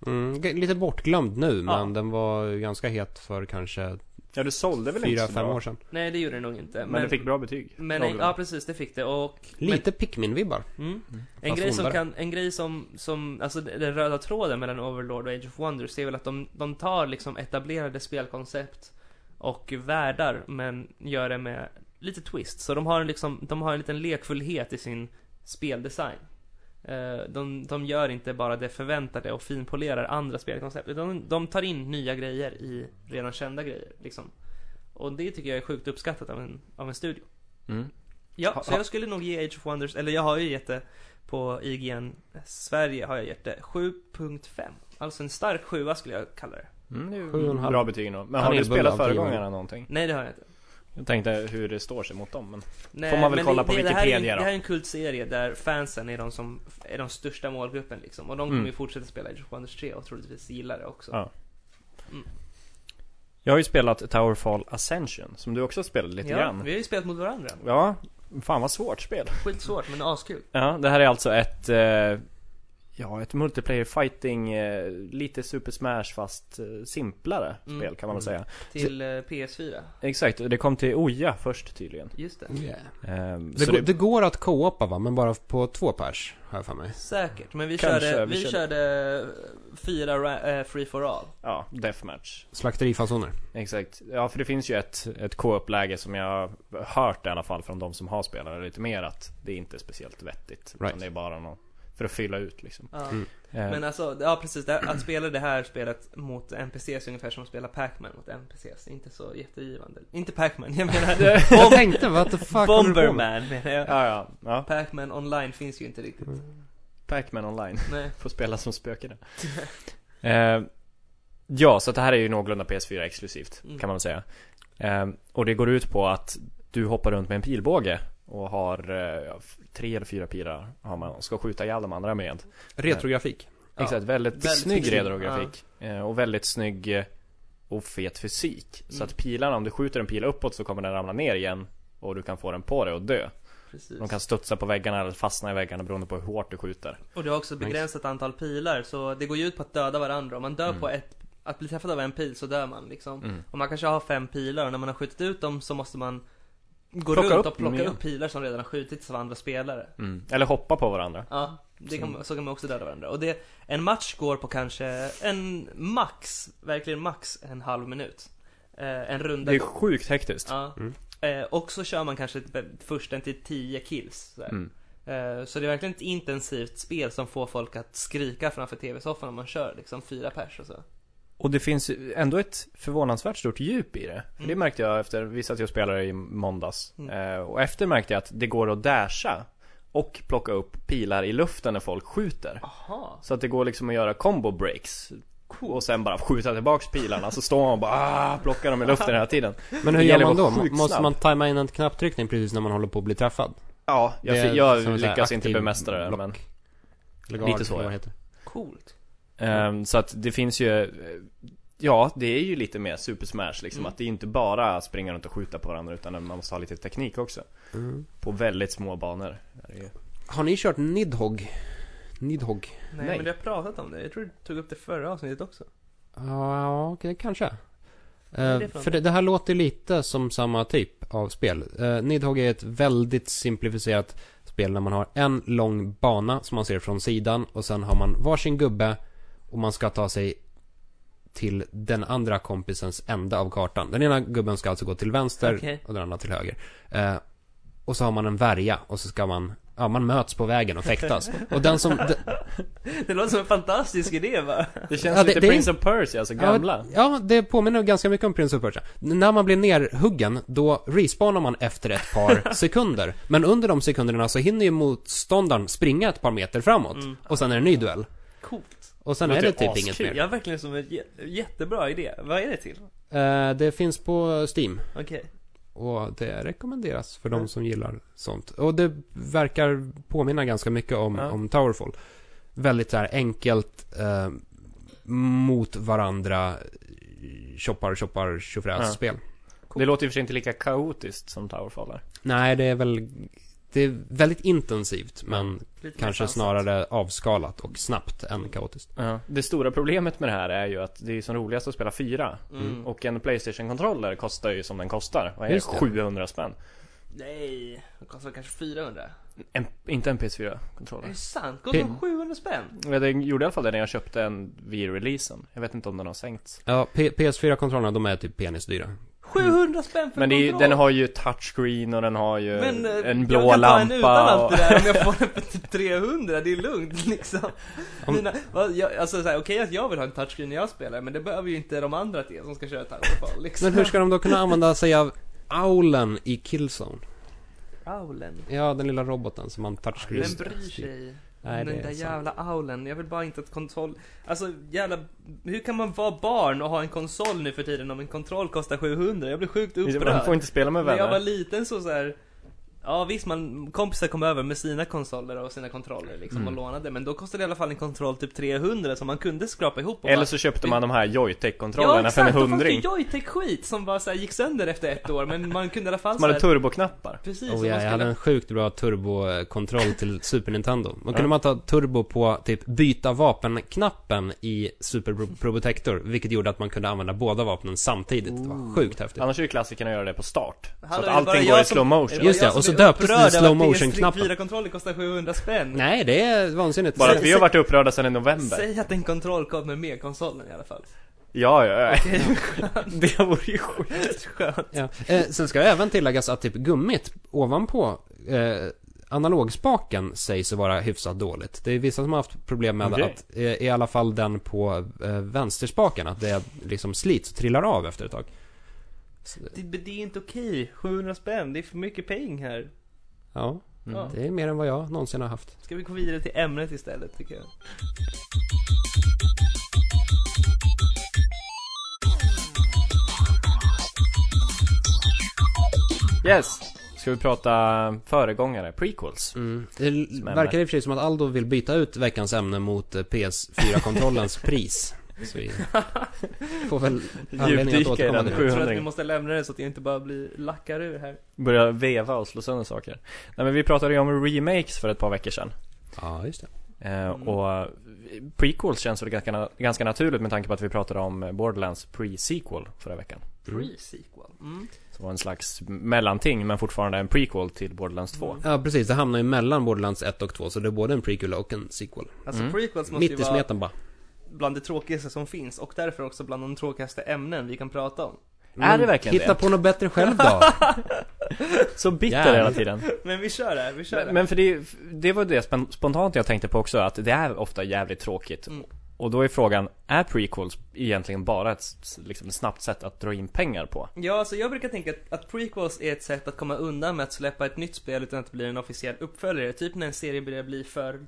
Mm, g- lite bortglömd nu, Ja. men den var ju ganska het för kanske Ja, du sålde väl inte fyra så fem bra? år sedan. Nej, det gjorde det nog inte. Men, det fick bra betyg. Men, Någorlunda. ja precis, det fick det och... Lite Pikmin-vibbar. Men, mm. En Fast grej som ondare. kan, en grej som, som, alltså d- den röda tråden mellan Overlord och Age of Wonders är väl att de, de tar liksom etablerade spelkoncept och världar men gör det med lite twist. Så de har en liksom, de har en liten lekfullhet i sin speldesign. Eh, De, de gör inte bara det förväntade och finpolerar andra spelkoncept utan de- de tar in nya grejer i redan kända grejer liksom. Och det tycker jag är sjukt uppskattat av en, av en studio. Mm. Ja, Ha- så ha- jag skulle nog ge Age of Wonders, eller jag har ju gett det på IGN Sverige har jag gett det 7.5. Alltså en stark sjua skulle jag kalla det. Mm, det är Sju och en ju halv. bra betyg nog. Men Han har är du bull spelat av tio, föregångarna någonting? Nej det har jag inte. Jag tänkte hur det står sig mot dem, men... Nej, Får man väl men kolla det, på det, det här är, Wikipedia en- då? Det här är en kultserie där fansen är de som är de största målgruppen liksom. Och de kommer Mm. ju fortsätta spela Age of Wonders 3 och troligtvis gilla det också. Ja. Jag har ju spelat Towerfall Ascension, som du också spelade lite Ja, grann. Vi har ju spelat mot varandra. Ja, fan vad svårt spel. Skitsvårt men askul. Ja, det här är alltså ett... Eh, ja, ett multiplayer fighting, eh, lite Super Smash fast eh, simplare Mm. spel kan man väl Mm. säga. Till eh, PS4. Exakt, och det kom till Oja först tydligen. Just det. Ehm, Det, så går- det går att co-opa va, men bara på två pers, har jag för mig. Säkert. Men vi Kanske, körde, vi vi, körde- körde... fyra ra- eh, free for all. Ja, Deathmatch. Slakterifasoner. Exakt. Ja, för det finns ju ett, ett K-uppläge som jag har hört i alla fall från de som har spelare lite mer att det är inte är speciellt vettigt. utan Right. Det är bara någon för att fylla ut liksom. Ja. Mm. Eh, Men alltså, ja precis. Det, att spela det här spelet mot NPCs är ungefär som att spela Pac-Man mot NPCs. Inte så jättegivande. Inte Pac-Man, jag menar Jag tänkte, what the fuck håller du på med? Mm. Bomberman menar jag. ja, ja, ja. Pac-Man online finns ju inte riktigt. Mm. Pac-Man online. Nej. Får spela som spöke nu. eh, ja, så att det här är ju någorlunda PS4 exklusivt Mm. kan man väl säga. Eh, och det går ut på att du hoppar runt med en pilbåge och har eh, ja, f- tre eller fyra pilar har man och ska skjuta ihjäl de andra med. Retrografik. Ja. Exakt, väldigt, Väldigt snygg snygg. retrografik. Eh, och väldigt snygg eh, och fet fysik. Så Mm. att pilarna, om du skjuter en pil uppåt så kommer den ramla ner igen. Och du kan få den på dig och dö. Precis. De kan studsa på väggarna eller fastna i väggarna beroende på hur hårt du skjuter. Och du har också begränsat antal pilar, så det går ju ut på att döda varandra. Om man dör Mm. på ett, att bli träffad av en pil så dör man liksom. Och man kanske har fem pilar och när man har skjutit ut dem så måste man gå Plocka runt upp och plocka dem igen. upp pilar som redan har skjutits av andra spelare. Mm. Eller hoppa på varandra. Ja, det kan, så kan man också döda varandra. Och det, en match går på kanske en max, verkligen max en halv minut. Eh, en runda. Det är sjukt hektiskt. ja. Mm. eh, och så kör man kanske typ försten till 10 kills. Så, här. Mm. Eh, så det är verkligen ett intensivt spel som får folk att skrika framför tv-soffan om man kör liksom fyra pers och så. Och det finns ju ändå ett förvånansvärt stort djup i det. För Det Mm. märkte jag efter, vi satt ju och spelade i måndags. Mm. Eh, och efter märkte jag att det går att dasha och plocka upp pilar i luften när folk skjuter. Aha. Så att det går liksom att göra combo breaks. Och sen bara skjuta tillbaks pilarna, så står man och bara ah, plockar dem i luften hela tiden. Men hur Det gör gäller man då? att vara sjukt Måste snabb. man tajma in en knapptryckning precis när man håller på att bli träffad? Ja, Det är jag, som jag en sån här lyckas inte aktiv bemästra det block. men Eller Lite så, eller ja. vad det heter. Coolt. Ehm, Så att det finns ju eh, Ja, det är ju lite mer Super Smash liksom Mm. att det är inte bara springa runt och skjuta på varandra utan man måste ha lite teknik också Mm. På väldigt små banor Det är ju- Har ni kört Nidhogg? Nidhogg? Nej, Nej. men vi har pratat om det. Jag tror du tog upp det förra avsnittet också. Ja, okej, kanske. är Eh, det för för det, det här låter lite som samma typ av spel. Eh, Nidhogg är ett väldigt simplifierat spel där man har en lång bana som man ser från sidan och sen har man varsin gubbe och man ska ta sig till den andra kompisens ände av kartan. Den ena gubben ska alltså gå till vänster Okej. och den andra till höger. Eh, och så har man en värja och så ska man, ja man möts på vägen och fäktas. och den som, d- Det låter som en fantastisk idé va? Det känns Ja, det- lite det är Prince of Persia, alltså gamla Ja, ja, det påminner ganska mycket om Prince of Persia. N- När man blir nerhuggen, då respawnar man efter ett par sekunder. Men under de sekunderna så hinner ju motståndaren springa ett par meter framåt. Mm. Och sen är det en ny duell. Coolt. Och sen Låter är det typ askul. inget Kul. mer. Ja, verkligen som en jä- jättebra idé. Vad är det till? Eh, det finns på Steam. Okej. Och det rekommenderas för Mm. de som gillar sånt. Och det verkar påminna ganska mycket om, Ja. om Towerfall. Väldigt så här enkelt eh, mot varandra choppar, choppar, tjofräs Ja. spel. Det låter ju för sig inte lika kaotiskt som Towerfall är. Nej, det är väl... Det är väldigt intensivt, men Lite mer kanske sansat. snarare avskalat och snabbt än kaotiskt. Det stora problemet med det här är ju att det är som roligast att spela fyra. Mm. Och en Playstation-controller kostar ju som den kostar. Vad är det? Just det. 700 spänn. Nej, det kostar kanske 400. En, inte en Är PS4-controller. det sant? Kostar Pin- de 700 spänn? Ja, det gjorde i alla fall det när jag köpte en vid releasen. Jag vet inte om den har sänkts. Ja, P- PS4-kontrollerna, de är typ penisdyra. 700 spänn för Men det är, ju- kontroll! den har ju touchscreen och den har ju Men, eh, en jag blå kan ta en utan lampa. allt Och... det där om jag får den för typ 300, det är lugnt liksom. Mina, vad- jag, alltså såhär, okej att jag vill ha en touchscreen när jag spelar, men det behöver ju inte de andra till som ska köra touchscreen liksom. Men hur ska de då kunna använda sig av aulen i Killzone? Aulen. Ja, den lilla roboten som man touchscreen. Vem bryr sig? Nej, det den är där sant. jävla aulen, jag vill bara inte att kontroll... Alltså jävla... Hur kan man vara barn och ha en konsol nu för tiden om en kontroll kostar 700? Jag blir sjukt Man upprörd. får inte spela med När jag var vänner. liten så så här. Ja visst, man, kompisar kom över med sina konsoler och sina kontroller liksom Mm. och lånade Men då kostade i alla fall en kontroll typ 300 som man kunde skrapa ihop och Eller så köpte man de här bara, Ja Joy-Tech-kontrollerna för en exakt, då fanns det hundring. Joytech-skit som bara så här, gick sönder efter ett år Men man kunde i alla fall Som hade så här, turboknappar. Precis, Oh, och man ja, jag hade skulle en sjukt bra turbokontroll till Super Nintendo. Då kunde man ta turbo på typ byta vapenknappen i Super Pro- Probotector, vilket gjorde att man kunde använda båda vapnen samtidigt. Det var sjukt häftigt. Annars är ju klassikern att göra det på start. Så att Hallå, är det bara allting går jag i som- slow är motion. bara Just det, jag som och så är döptes den upprörd slow över att motion-knappen. PS4-kontroller kostar 700 spänn Nej, det är vansinnigt. Bara Sä- att vi har varit upprörda sedan i november. Säg att en kontroll kommer med konsolen i alla fall Ja, ja, ja. Det vore ju sjukt. Skönt Ja. Eh, sen ska även tilläggas att typ gummit ovanpå eh, analogspaken sägs vara hyfsat dåligt. Det är vissa som har haft problem med Okej. att, eh, i alla fall den på eh, vänsterspaken, att det liksom slits och trillar av efter ett tag. Så, det, det är inte okej, 700 spänn, det är för mycket peng här ja, Mm, Ja. det är mer än vad jag någonsin har haft. Ska vi gå vidare till ämnet istället tycker jag Yes! Ska vi prata föregångare, prequels? Mm. Det l- Smämmar. verkar i och för sig som att Aldo vill byta ut veckans ämne mot eh, PS4-kontrollens pris. Så vi får väl anledning att Djupdyka i återkomma den till Jag det. tror att 700. vi måste lämna det så att jag inte bara blir lackar ur Mm. här Börja veva och slå sönder saker. Nej men vi pratade ju om remakes för ett par veckor sedan. Ja, just det. Eh, Mm. Och eh, prequels känns väl ganska, na- ganska naturligt med tanke på att vi pratade om eh, Borderlands pre-sequel förra veckan. Mm. Pre-sequel mm. Som var en slags mellanting men fortfarande en prequel till Borderlands 2. Mm. Ja, precis. Det hamnar ju mellan Borderlands 1 och 2, så det är både en prequel och en sequel. Alltså Mm. prequels måste Mitt ju i vara smeten bara. bland det tråkigaste som finns och därför också bland de tråkigaste ämnen vi kan prata om Är det verkligen Mm. Hitta det? på något bättre själv då. Så bitter Jävlar. hela tiden. Men vi kör det här, vi kör det Men, men för det, det var det spen- spontant jag tänkte på också, att det är ofta jävligt tråkigt. Mm. Och då är frågan, är prequels egentligen bara ett s- liksom, snabbt sätt att dra in pengar på? Ja, alltså jag brukar tänka att, att prequels är ett sätt att komma undan med att släppa ett nytt spel utan att det blir en officiell uppföljare. Typ när en serie börjar bli för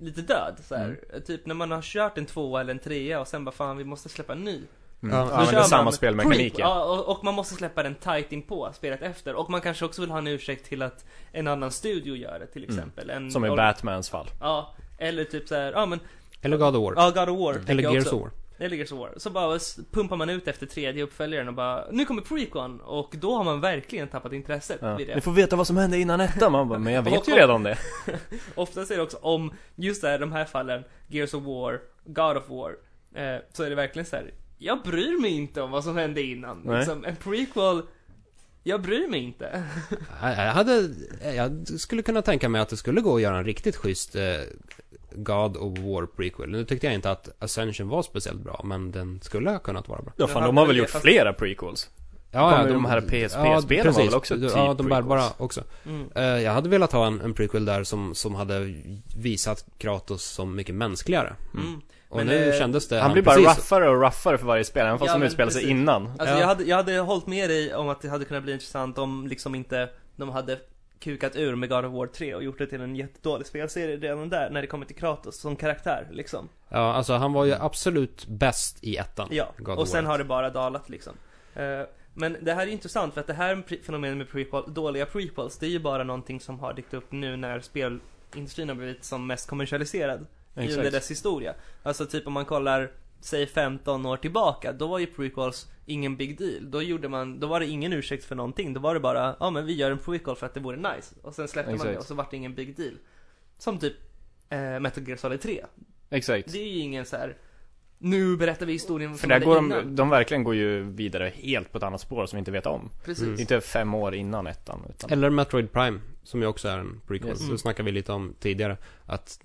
lite död så här. Mm. Typ när man har kört en tvåa eller en trea och sen bara fan vi måste släppa en ny. Mm. Ja, Ja, då men kör det är man samma med spelmekanik Prequel. ja. Ja, och, och man måste släppa den tight in på spelet efter. Och man kanske också vill ha en ursäkt till att en annan studio gör det till Mm. exempel. En, Som i och- Batmans fall. Ja, eller typ så här, ja men, Eller God of War. ja God of Mm. War. tänker Eller jag Gears också. of War. Eller Gears of War. Så bara s- pumpar man ut efter tredje uppföljaren och bara Nu kommer prequeln! Och då har man verkligen tappat intresset Ja. vid Ni det. får veta vad som hände innan ettan. Man bara, men jag vet ju redan det. Oftast är det också om, just det här, de här fallen, Gears of War, God of War, eh, så är det verkligen så här. Jag bryr mig inte om vad som hände innan. Nej. Liksom, en prequel, jag bryr mig inte. Mm. Jag jag hade, jag skulle kunna tänka mig att det skulle gå att göra en riktigt schysst eh, God of War prequel. Nu tyckte jag inte att Ascension var speciellt bra, men den skulle ha kunnat vara bra. Ja Men fan, hade de har det väl det, gjort fast- flera prequels? Ja, Kommer de här PSP-spelen var väl också typ Ja, de prequels? bärbara också. Mm. Eh, jag hade velat ha en, en prequel där som, som hade visat Kratos som mycket mänskligare. Mm. Och Men, nu eh, kändes det... Han blir bara precis- raffare och raffare för varje spel, även fast Ja, de men utspelar sig precis. innan. Alltså Ja. jag, hade, jag hade hållit med dig om att det hade kunnat bli intressant om liksom inte de hade kukat ur med God of War 3 och gjort det till en jättedålig spelserie redan där när det kommer till Kratos som karaktär liksom. Ja, alltså han var ju absolut bäst i ettan. Ja, God och of sen War. har det bara dalat liksom. Eh, Men det här är ju intressant för att det här pre- fenomenet med prequel, dåliga prequels, det är ju bara någonting som har dykt upp nu när spelindustrin har blivit som mest kommersialiserad i under dess historia. Alltså typ om man kollar, säg 15 år tillbaka, då var ju prequels ingen big deal. Då gjorde man, då var det ingen ursäkt för någonting. Då var det bara, ja ah, men vi gör en prequel för att det vore nice. Och sen släppte man det Exakt. och så vart det ingen big deal. Som typ eh, Metal Gear Solid 3. Exakt. Det är ju ingen så här. nu berättar vi historien För som där hände går de, innan. de verkligen går ju vidare helt på ett annat spår som vi inte vet om. Precis. Mm. Det är Inte fem år innan ettan. Utan... Eller Metroid Prime, som ju också är en prequel. Yes. Så snackade vi lite om tidigare. Att,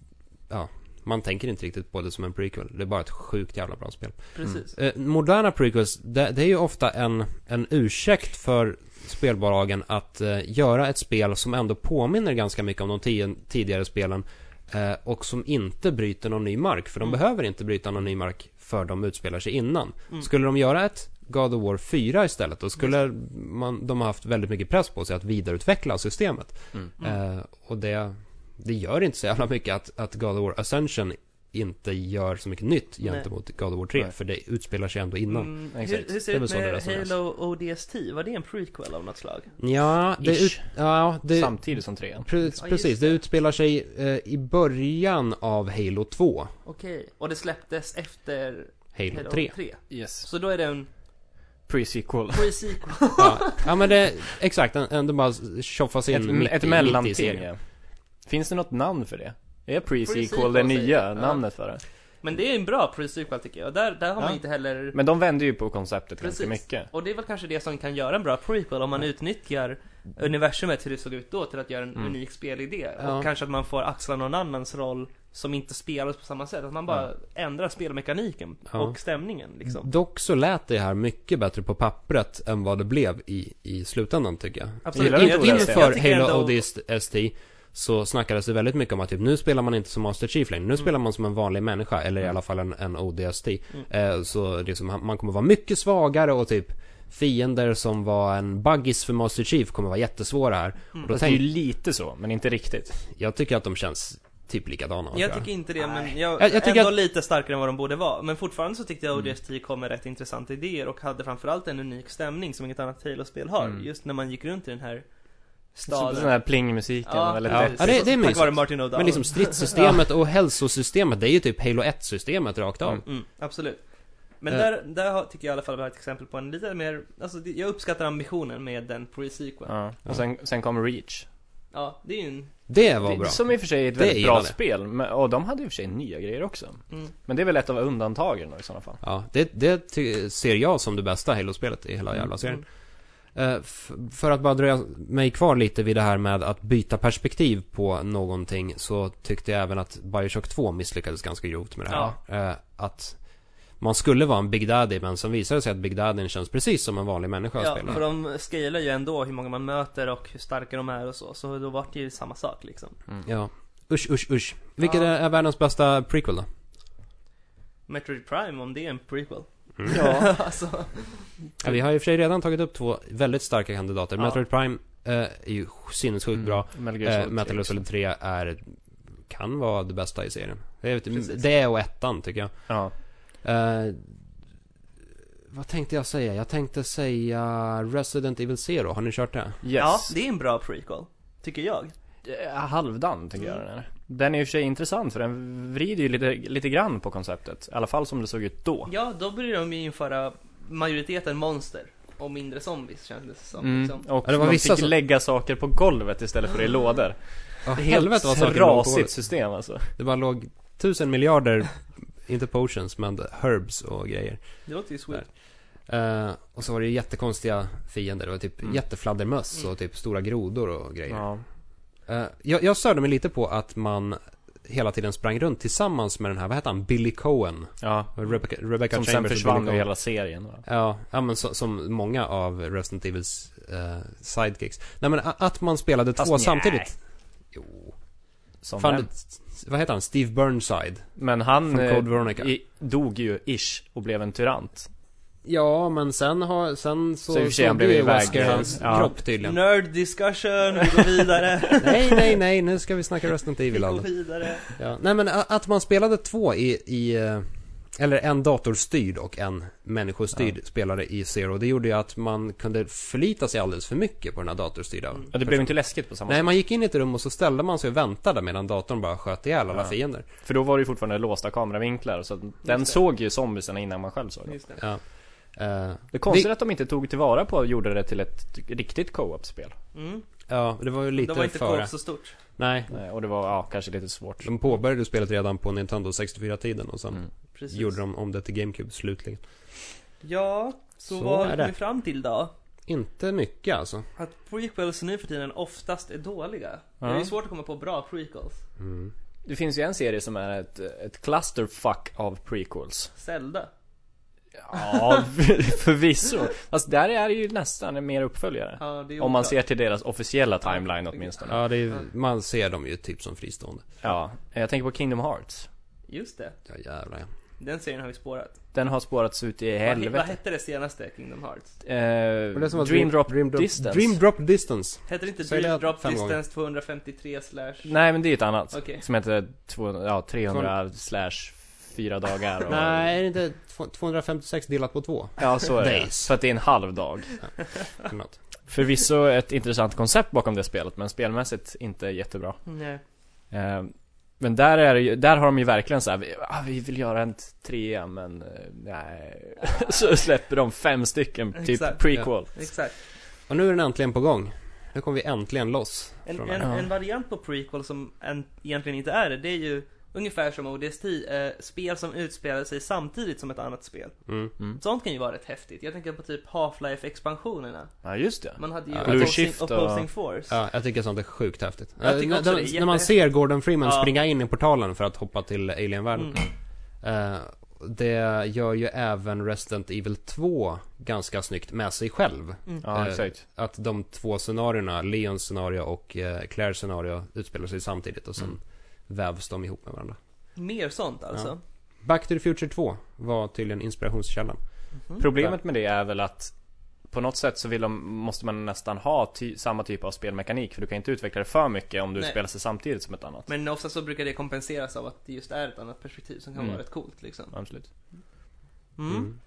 ja, man tänker inte riktigt på det som en prequel. Det är bara ett sjukt jävla bra spel. Precis. Eh, moderna prequels, det, det är ju ofta en, en ursäkt för spelbolagen att eh, göra ett spel som ändå påminner ganska mycket om de ti- tidigare spelen. Eh, och som inte bryter någon ny mark, för de Mm. behöver inte bryta någon ny mark för de utspelar sig innan. Mm. Skulle de göra ett God of War 4 istället, då skulle man, de ha haft väldigt mycket press på sig att vidareutveckla systemet. Mm. Eh, och det, det gör inte så jävla mycket att, att God of War Ascension inte gör så mycket nytt Nej. gentemot God of War 3. Nej. För det utspelar sig ändå innan. Mm, hur, Exakt. hur Det är ser väl så det det ut med resoneras. Halo ODST? Var det en prequel av något slag? Ja, det, Ish. ut, ja, det, Samtidigt som trean. pre, Ja, precis. just Det det. utspelar sig eh, i början av Halo 2. Okej. Och det släpptes efter Halo, Halo 3. 3. Yes. Så då är det en Pre-sequel. pre-sequel. Ja. ja, men det, exakt. Den, den bara tjofas in mitt, Ett, i- ett mitt i mellanting serien. ja. Finns det något namn för det? Är pre-sequel Pre-sequel det säger nya jag. Ja. namnet för det? Men det är en bra pre-sequel tycker jag. Där, där har Ja. man inte heller... Men de vänder ju på konceptet ganska Precis. mycket. Och det är väl kanske det som kan göra en bra prequel om man utnyttjar universumet hur det såg ut då till att göra en Mm. unik spelidé. Ja. Och kanske att man får axla någon annans roll som inte spelas på samma sätt. Att man bara ändrar spelmekaniken Ja. Mm. och stämningen liksom. Dock så lät det här mycket bättre på pappret än vad det blev i, i slutändan tycker jag. Absolut. Jag gillar In, inte Jag inför tycker Halo ändå- ODST så snackades det väldigt mycket om att typ, nu spelar man inte som Master Chief Mm. längre, nu spelar man som en vanlig människa, eller i alla fall en, en ODST. Mm. Eh, så liksom, han- man kommer vara mycket svagare och typ fiender som var en buggis för Master Chief kommer vara jättesvåra här. Mm. Och då Fast det är ju tänk, lite så, men inte riktigt. jag tycker att de känns typ likadana. tror Jag tycker inte det, men jag, Jag- jag tycker ändå att- Mm. lite starkare än vad de borde vara. Men fortfarande så tyckte jag ODST kom med rätt intressanta idéer och hade framförallt en unik stämning som inget annat Halo-spel har. Mm. Just när man gick runt i den här Så, staden. den här plingmusiken, Ja, väldigt ja. lätt. Ja, det- det är Tack mysigt. vare Martin O'Donnell. Men liksom stridssystemet och hälsosystemet, det är ju typ Halo 1-systemet rakt av. Mm. Mm, absolut. Men Eh. där, där har- tycker jag i alla fall vi har ett exempel på en lite mer, alltså det- jag uppskattar ambitionen med den pre-sequel. Ja. Ja. Och sen, sen kom Reach. det är ju en, Det var Det- bra. Som i och för sig är ett Det väldigt gillar bra det. spel, men, och de hade i och för sig nya grejer också. mm, Men det är väl ett av undantagen då, i sådana fall. Ja, det, det ty- ser jag som det bästa Halo-spelet i Mm, hela jävla serien. Eh, f- för att bara dröja mig kvar lite vid det här med att byta perspektiv på någonting så tyckte jag även att Bioshock 2 misslyckades ganska grovt med det här. Eh, att man skulle vara en Big Daddy men sen visade det sig att Big Daddy känns precis som en vanlig människa att ja, spela. för de scalar ju ändå hur många man möter och hur starka de är och så, så då vart det ju samma sak liksom. Ja. Usch, usch, usch. Vilket Ja. är världens bästa prequel då? Metroid Prime, om det är en prequel. Mm. Ja, alltså. Ja, vi har i och för sig redan tagit upp två väldigt starka kandidater. Ja. Mm. Metroid Prime eh, är ju sinnessjukt bra. Mm. Metal Gear Eh, Solid Metal Gear 3. Solid 3 är kan vara det bästa i serien. Det är, Precis. det och ettan tycker jag. Ja. Eh, vad tänkte jag säga? Jag tänkte säga Resident Evil Zero. Har ni kört det? Yes. Ja, det är en bra prequel. Tycker jag. Eh, halvdan tycker jag Mm. den är. Den är i och för sig intressant för den vrider ju lite, lite grann på konceptet. I alla fall som det såg ut då. Ja, då började de ju införa majoriteten monster och mindre zombies kändes det som. Mm. Liksom. Och Ja, det var man vissa fick som- lägga saker på golvet istället för i lådor. Oh, Det är helt helvete vad saker låg på trasigt golvet. system alltså. Det bara låg tusen miljarder, inte potions, men herbs och grejer. Det låter ju sweet. Eh, och så var det ju jättekonstiga fiender. Det var typ Mm. jättefladdermöss och typ stora grodor och grejer. Ja. Eh, jag, jag störde mig lite på att man hela tiden sprang runt tillsammans med den här, vad hette han, Billy Cohen? ja. Rebecca, Rebecca Som sen Chambers och försvann Billy ur Cohen. hela serien. Va? Ja, ja men så, som många av Resident Evils eh, sidekicks. Nej men a- att man spelade Fast två nej. samtidigt. Jo. Som Fan, vem? det- vad heter han? Steve Burnside. Men Från han Code eh, Veronica. i, dog ju ish och blev en tyrant. ja, men sen har, sen så, Så i och för sig han blev blev ju iväg, Wesker eh, hans ja. kropp tydligen. Nerd discussion, vi går vidare. nej, nej, nej, nu ska vi snacka Resident vi Evil alltså. går Aldo. vidare. Ja. Nej men a- att man spelade två i, i eh, eller en datorstyrd och en människostyrd spelare i Zero. Det gjorde ju att man kunde förlita sig alldeles för mycket på den här datorstyrda. Mm. Ja, det blev inte läskigt på samma Nej, sätt. man gick in i ett rum och så ställde man sig och väntade medan datorn bara sköt ihjäl alla Ja. fiender. För då var det ju fortfarande låsta kameravinklar, så att den det. såg ju zombiesarna innan man själv såg dem. Just det. Ja. Eh, Det är konstigt att de inte tog tillvara på och gjorde det till ett riktigt co-op-spel. Mm. ja, det var ju lite De var inte före. co-op så stort. Nej, Eh, Och det var, ja, kanske lite svårt. de påbörjade spelet redan på Nintendo 64-tiden och sen Mm. Precis. gjorde de om det till GameCube slutligen. Ja, så, Så vad har är vi det. kommit fram till då? Inte mycket alltså. Att prequels nu för tiden oftast är dåliga. Det är Ja. ju svårt att komma på bra prequels. Mm. Det finns ju en serie som är ett, ett clusterfuck av prequels. Zelda. Ja, förvisso. Fast där är det ju nästan en mer uppföljare. Ja, det är Om man oklart. ser till deras officiella timeline åtminstone. Ja, det är, man ser dem ju typ som fristående. Ja, jag tänker på Kingdom Hearts. Just det. Ja, jävlar ja. Den serien har vi spårat. Den har spårats ut i Vad, he- vad helvete. hette det senaste Kingdom Hearts? Eh, Och det som var Dream Drop Dream Drop Distance. Dream Drop Distance. Hette det inte Säg det Dream Drop fem gånger. Distance 253 slash? Nej men det är ett annat. Okej. Som heter 200, ja, 300 slash 4 dagar. Och, Nej, är det inte två- 256 delat på två? Ja så är det. Days. För att det är en halv dag. Eller något. Förvisso ett intressant koncept bakom det spelet men spelmässigt inte jättebra. Nej. Eh, men där är det ju, där har de ju verkligen så här, vi, ah, vi vill göra en trea men eh, nej. så släpper de fem stycken, typ Exakt. prequel. Exakt. Och nu är den äntligen på gång. Nu kommer vi äntligen loss. En, från en, den. Ja. en variant på prequel som en, egentligen inte är det, det är ju ungefär som ODST, eh, spel som utspelar sig samtidigt som ett annat spel. Mm. Mm. Sånt kan ju vara rätt häftigt. Jag tänker på typ Half-Life expansionerna. Ja just det. Man hade ju Ja. Blue opposing, Shift och- opposing Force. Ja, jag tycker sånt är sjukt häftigt. Jag tycker Eh, också när, det är när man jättehäftigt. ser Gordon Freeman Ja. springa in i portalen för att hoppa till alienvärlden. Mm. Eh, det gör ju även Resident Evil 2 ganska snyggt med sig själv. Ja Eh, exakt. Att de två scenarierna, Leons scenario och eh, Claires scenario, utspelar sig samtidigt och sen Mm. vävs de ihop med varandra. Mer sånt alltså. Back to the Future 2 var tydligen inspirationskällan. Mm-hmm. Mhm. Problemet med det är väl att på något sätt så vill de, måste man nästan ha ty, samma typ av spelmekanik för du kan inte utveckla det för mycket om du Nej. spelar sig samtidigt som ett annat. Men ofta så brukar det kompenseras av att det just är ett annat perspektiv som kan Mm. vara rätt coolt liksom. Absolut. Mm. Mm.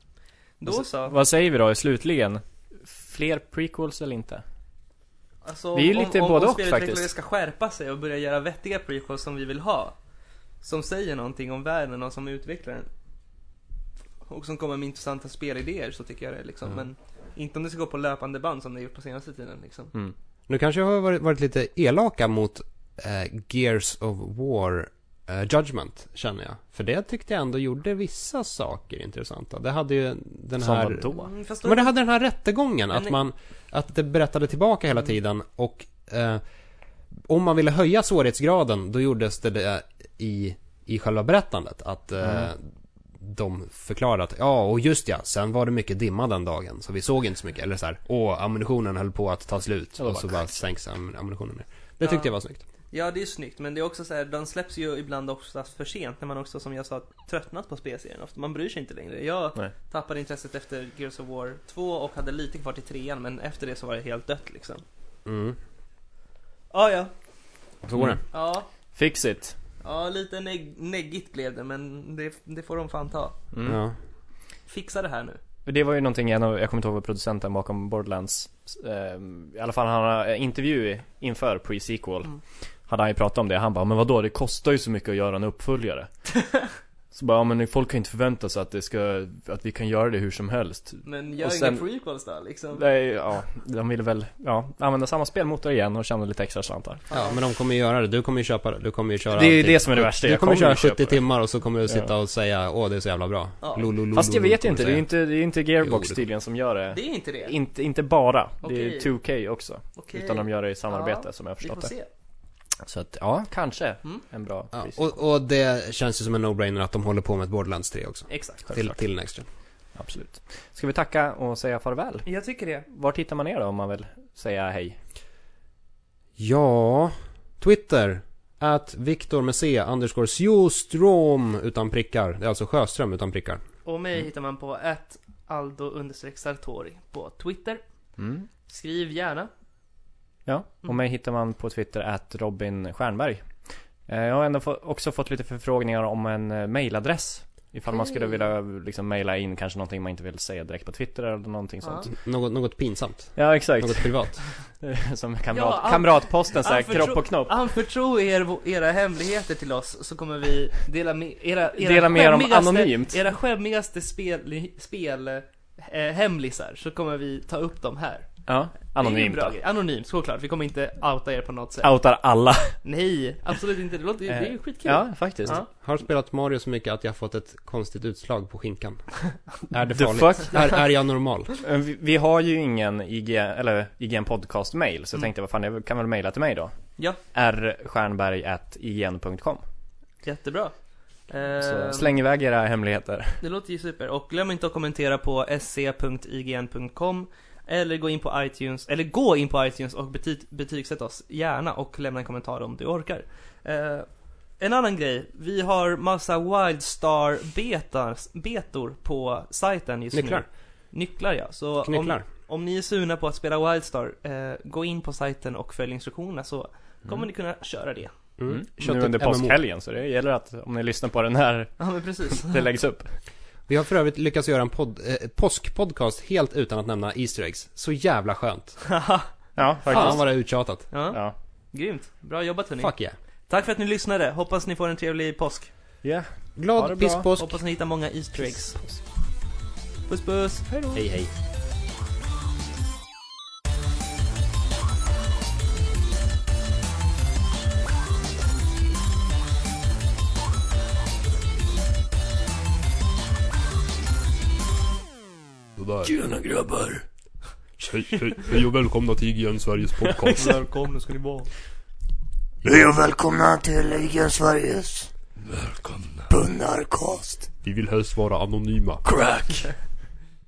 Då så. Vad säger vi då slutligen? Fler prequels eller inte? Alltså, Det är ju om- lite om, både om och, spelutvecklare faktiskt. ska skärpa sig och börja göra vettiga prequels som vi vill ha. Som säger någonting om världen och som utvecklar den. Och som kommer med intressanta spelidéer så tycker jag det liksom. Mm. Men inte om det ska gå på löpande band som det gjort på senaste tiden liksom. Mm. Nu kanske jag har varit, varit lite elaka mot eh, Gears of War eh, Judgment, känner jag. För det tyckte jag ändå gjorde vissa saker intressanta. Det hade ju den Som här... vadå? Mm, fast då Men det hade den här rättegången, Men att det- man... Att det berättade tillbaka hela Mm. tiden och... Eh, om man ville höja svårighetsgraden, då gjordes det, det i, i själva berättandet. Att eh, Mm. de förklarade att, ja, och just ja, sen var det mycket dimma den dagen, så vi såg inte så mycket. Eller så här, åh, ammunitionen höll på att ta slut. Ja, det Och var så bara sänks am- ammunitionen ner. Det tyckte Ja. jag var snyggt. Ja, det är snyggt, men det är också så här, de släpps ju ibland oftast för sent när man också, som jag sa, tröttnat på spelserien. Ofta, man bryr sig inte längre. Jag Nej. tappade intresset efter Gears of War 2 och hade lite kvar till trean, men efter det så var det helt dött liksom. Mm. Ah, ja, Så går det. Mm. ja. Fix it. Ja, lite neg- neggigt blev det, men det, det får de fan ta. Mm. Ja. Fixa det här nu. Det var ju någonting, en av, jag kommer inte ihåg vad producenten bakom Borderlands eh, I alla fall han har en intervju inför pre-sequel Mm. Hade han ju pratat om det, han bara 'Men vadå, det kostar ju så mycket att göra en uppföljare' Så bara, ja, men folk kan ju inte förvänta sig att det ska, att vi kan göra det hur som helst Men gör Och inga sen- prequels då, liksom. Nej, ja, de ville väl, ja, använda samma spelmotor igen och tjäna lite extra slantar Ja, men de kommer ju göra det. Du kommer ju köpa det. Du kommer ju köra Det är ju typ- det som är det värsta. Du Jag kommer, kommer köra ju köpa 70 det. timmar och så kommer du Ja. sitta och säga åh det är så jävla bra. Ja. Lo, lo, lo, Fast jag lo, lo, vet kommer inte, du det är ju säga. inte, det är ju inte Gearbox Jo, det- tydligen som gör det Det är inte det. inte, inte bara, det är Okej. 2K också. Okej. Utan de gör det i samarbete Ja, som jag har Vi får förstått det. se. Så att, ja, kanske. Mm. En bra Ja, pris. och, och det känns ju som en no-brainer att de håller på med ett Borderlands 3 också. Exakt. Till, Självklart. till Next Gen. Absolut. Ska vi tacka och säga farväl? Jag tycker det. Var tittar man ner då om man vill säga hej? Ja, Twitter. Att Viktor med C, underscore Sjöström utan prickar. Det är alltså Sjöström utan prickar. Och mig Mm. hittar man på att aldo sartori på Twitter. Mm. Skriv gärna. Ja, och Mm. mig hittar man på Twitter att Robin Stjernberg. Eh, Jag har ändå få, också fått lite förfrågningar om en eh, mailadress Ifall man skulle vilja liksom mejla in kanske någonting man inte vill säga direkt på Twitter eller någonting Ja. sånt. Något, något pinsamt. Ja exakt. Något privat. Som kamrat, Ja, kamratposten såhär, anförtro- kropp och knopp. Anförtro er, era hemligheter till oss så kommer vi dela med era, era Dela med dem skämmigaste- anonymt. Era skämmigaste spel, spel eh, hemlisar så kommer vi ta upp dem här. Ja, Det är en anonymt bra då. grej. Anonymt, såklart. Vi kommer inte outa er på något sätt. Outar alla. Nej, absolut inte. Det låter ju, det är ju Eh, skitkul. Ja, faktiskt. Ja. Har spelat Mario så mycket att jag fått ett konstigt utslag på skinkan. Är det The farligt? Är, är jag normal? Eh, Vi, vi har ju ingen IG, eller IGN podcast mail, så jag tänkte vad fan, jag kan väl mejla till mig då? Mm. Ja. rstjernberg.ign.com Jättebra. Så Eh, släng iväg era hemligheter. Det låter ju super. Och glöm inte att kommentera på sc.ign.com eller gå in på iTunes, eller gå in på iTunes och bety- betygsätt oss gärna och lämna en kommentar om du orkar. Eh, en annan grej, vi har massa Wildstar betas, betor på sajten just Nycklar. nu. Nycklar. ja. Så om, Knycklar. om ni är sugna på att spela Wildstar, eh, gå in på sajten och följ instruktionerna så kommer ni kunna köra det. Mm. Mm. Nu Köttet under MMO. påskhelgen, så det gäller att om ni lyssnar på den när Ja men precis. det läggs upp. Vi har för övrigt lyckats göra en pod, eh, påskpodcast helt utan att nämna Easter eggs. Så jävla skönt. Ja, Fan faktiskt. vad det är uttjatat. ja, Ja. grymt. Bra jobbat hörni. Fuck yeah. Tack för att ni lyssnade. Hoppas ni får en trevlig påsk. Ja. Ha det Glad bra. pisspåsk. Hoppas ni hittar många Easter eggs. Puss puss! Hejdå! Hej hej. Tjena grabbar! Hej, hej, hej och välkomna till IGN Sveriges podcast. Välkomna ska ni vara! Hej och välkomna till Ligan Sveriges välkomna. Bunnarkast. Vi vill helst vara anonyma. Crack!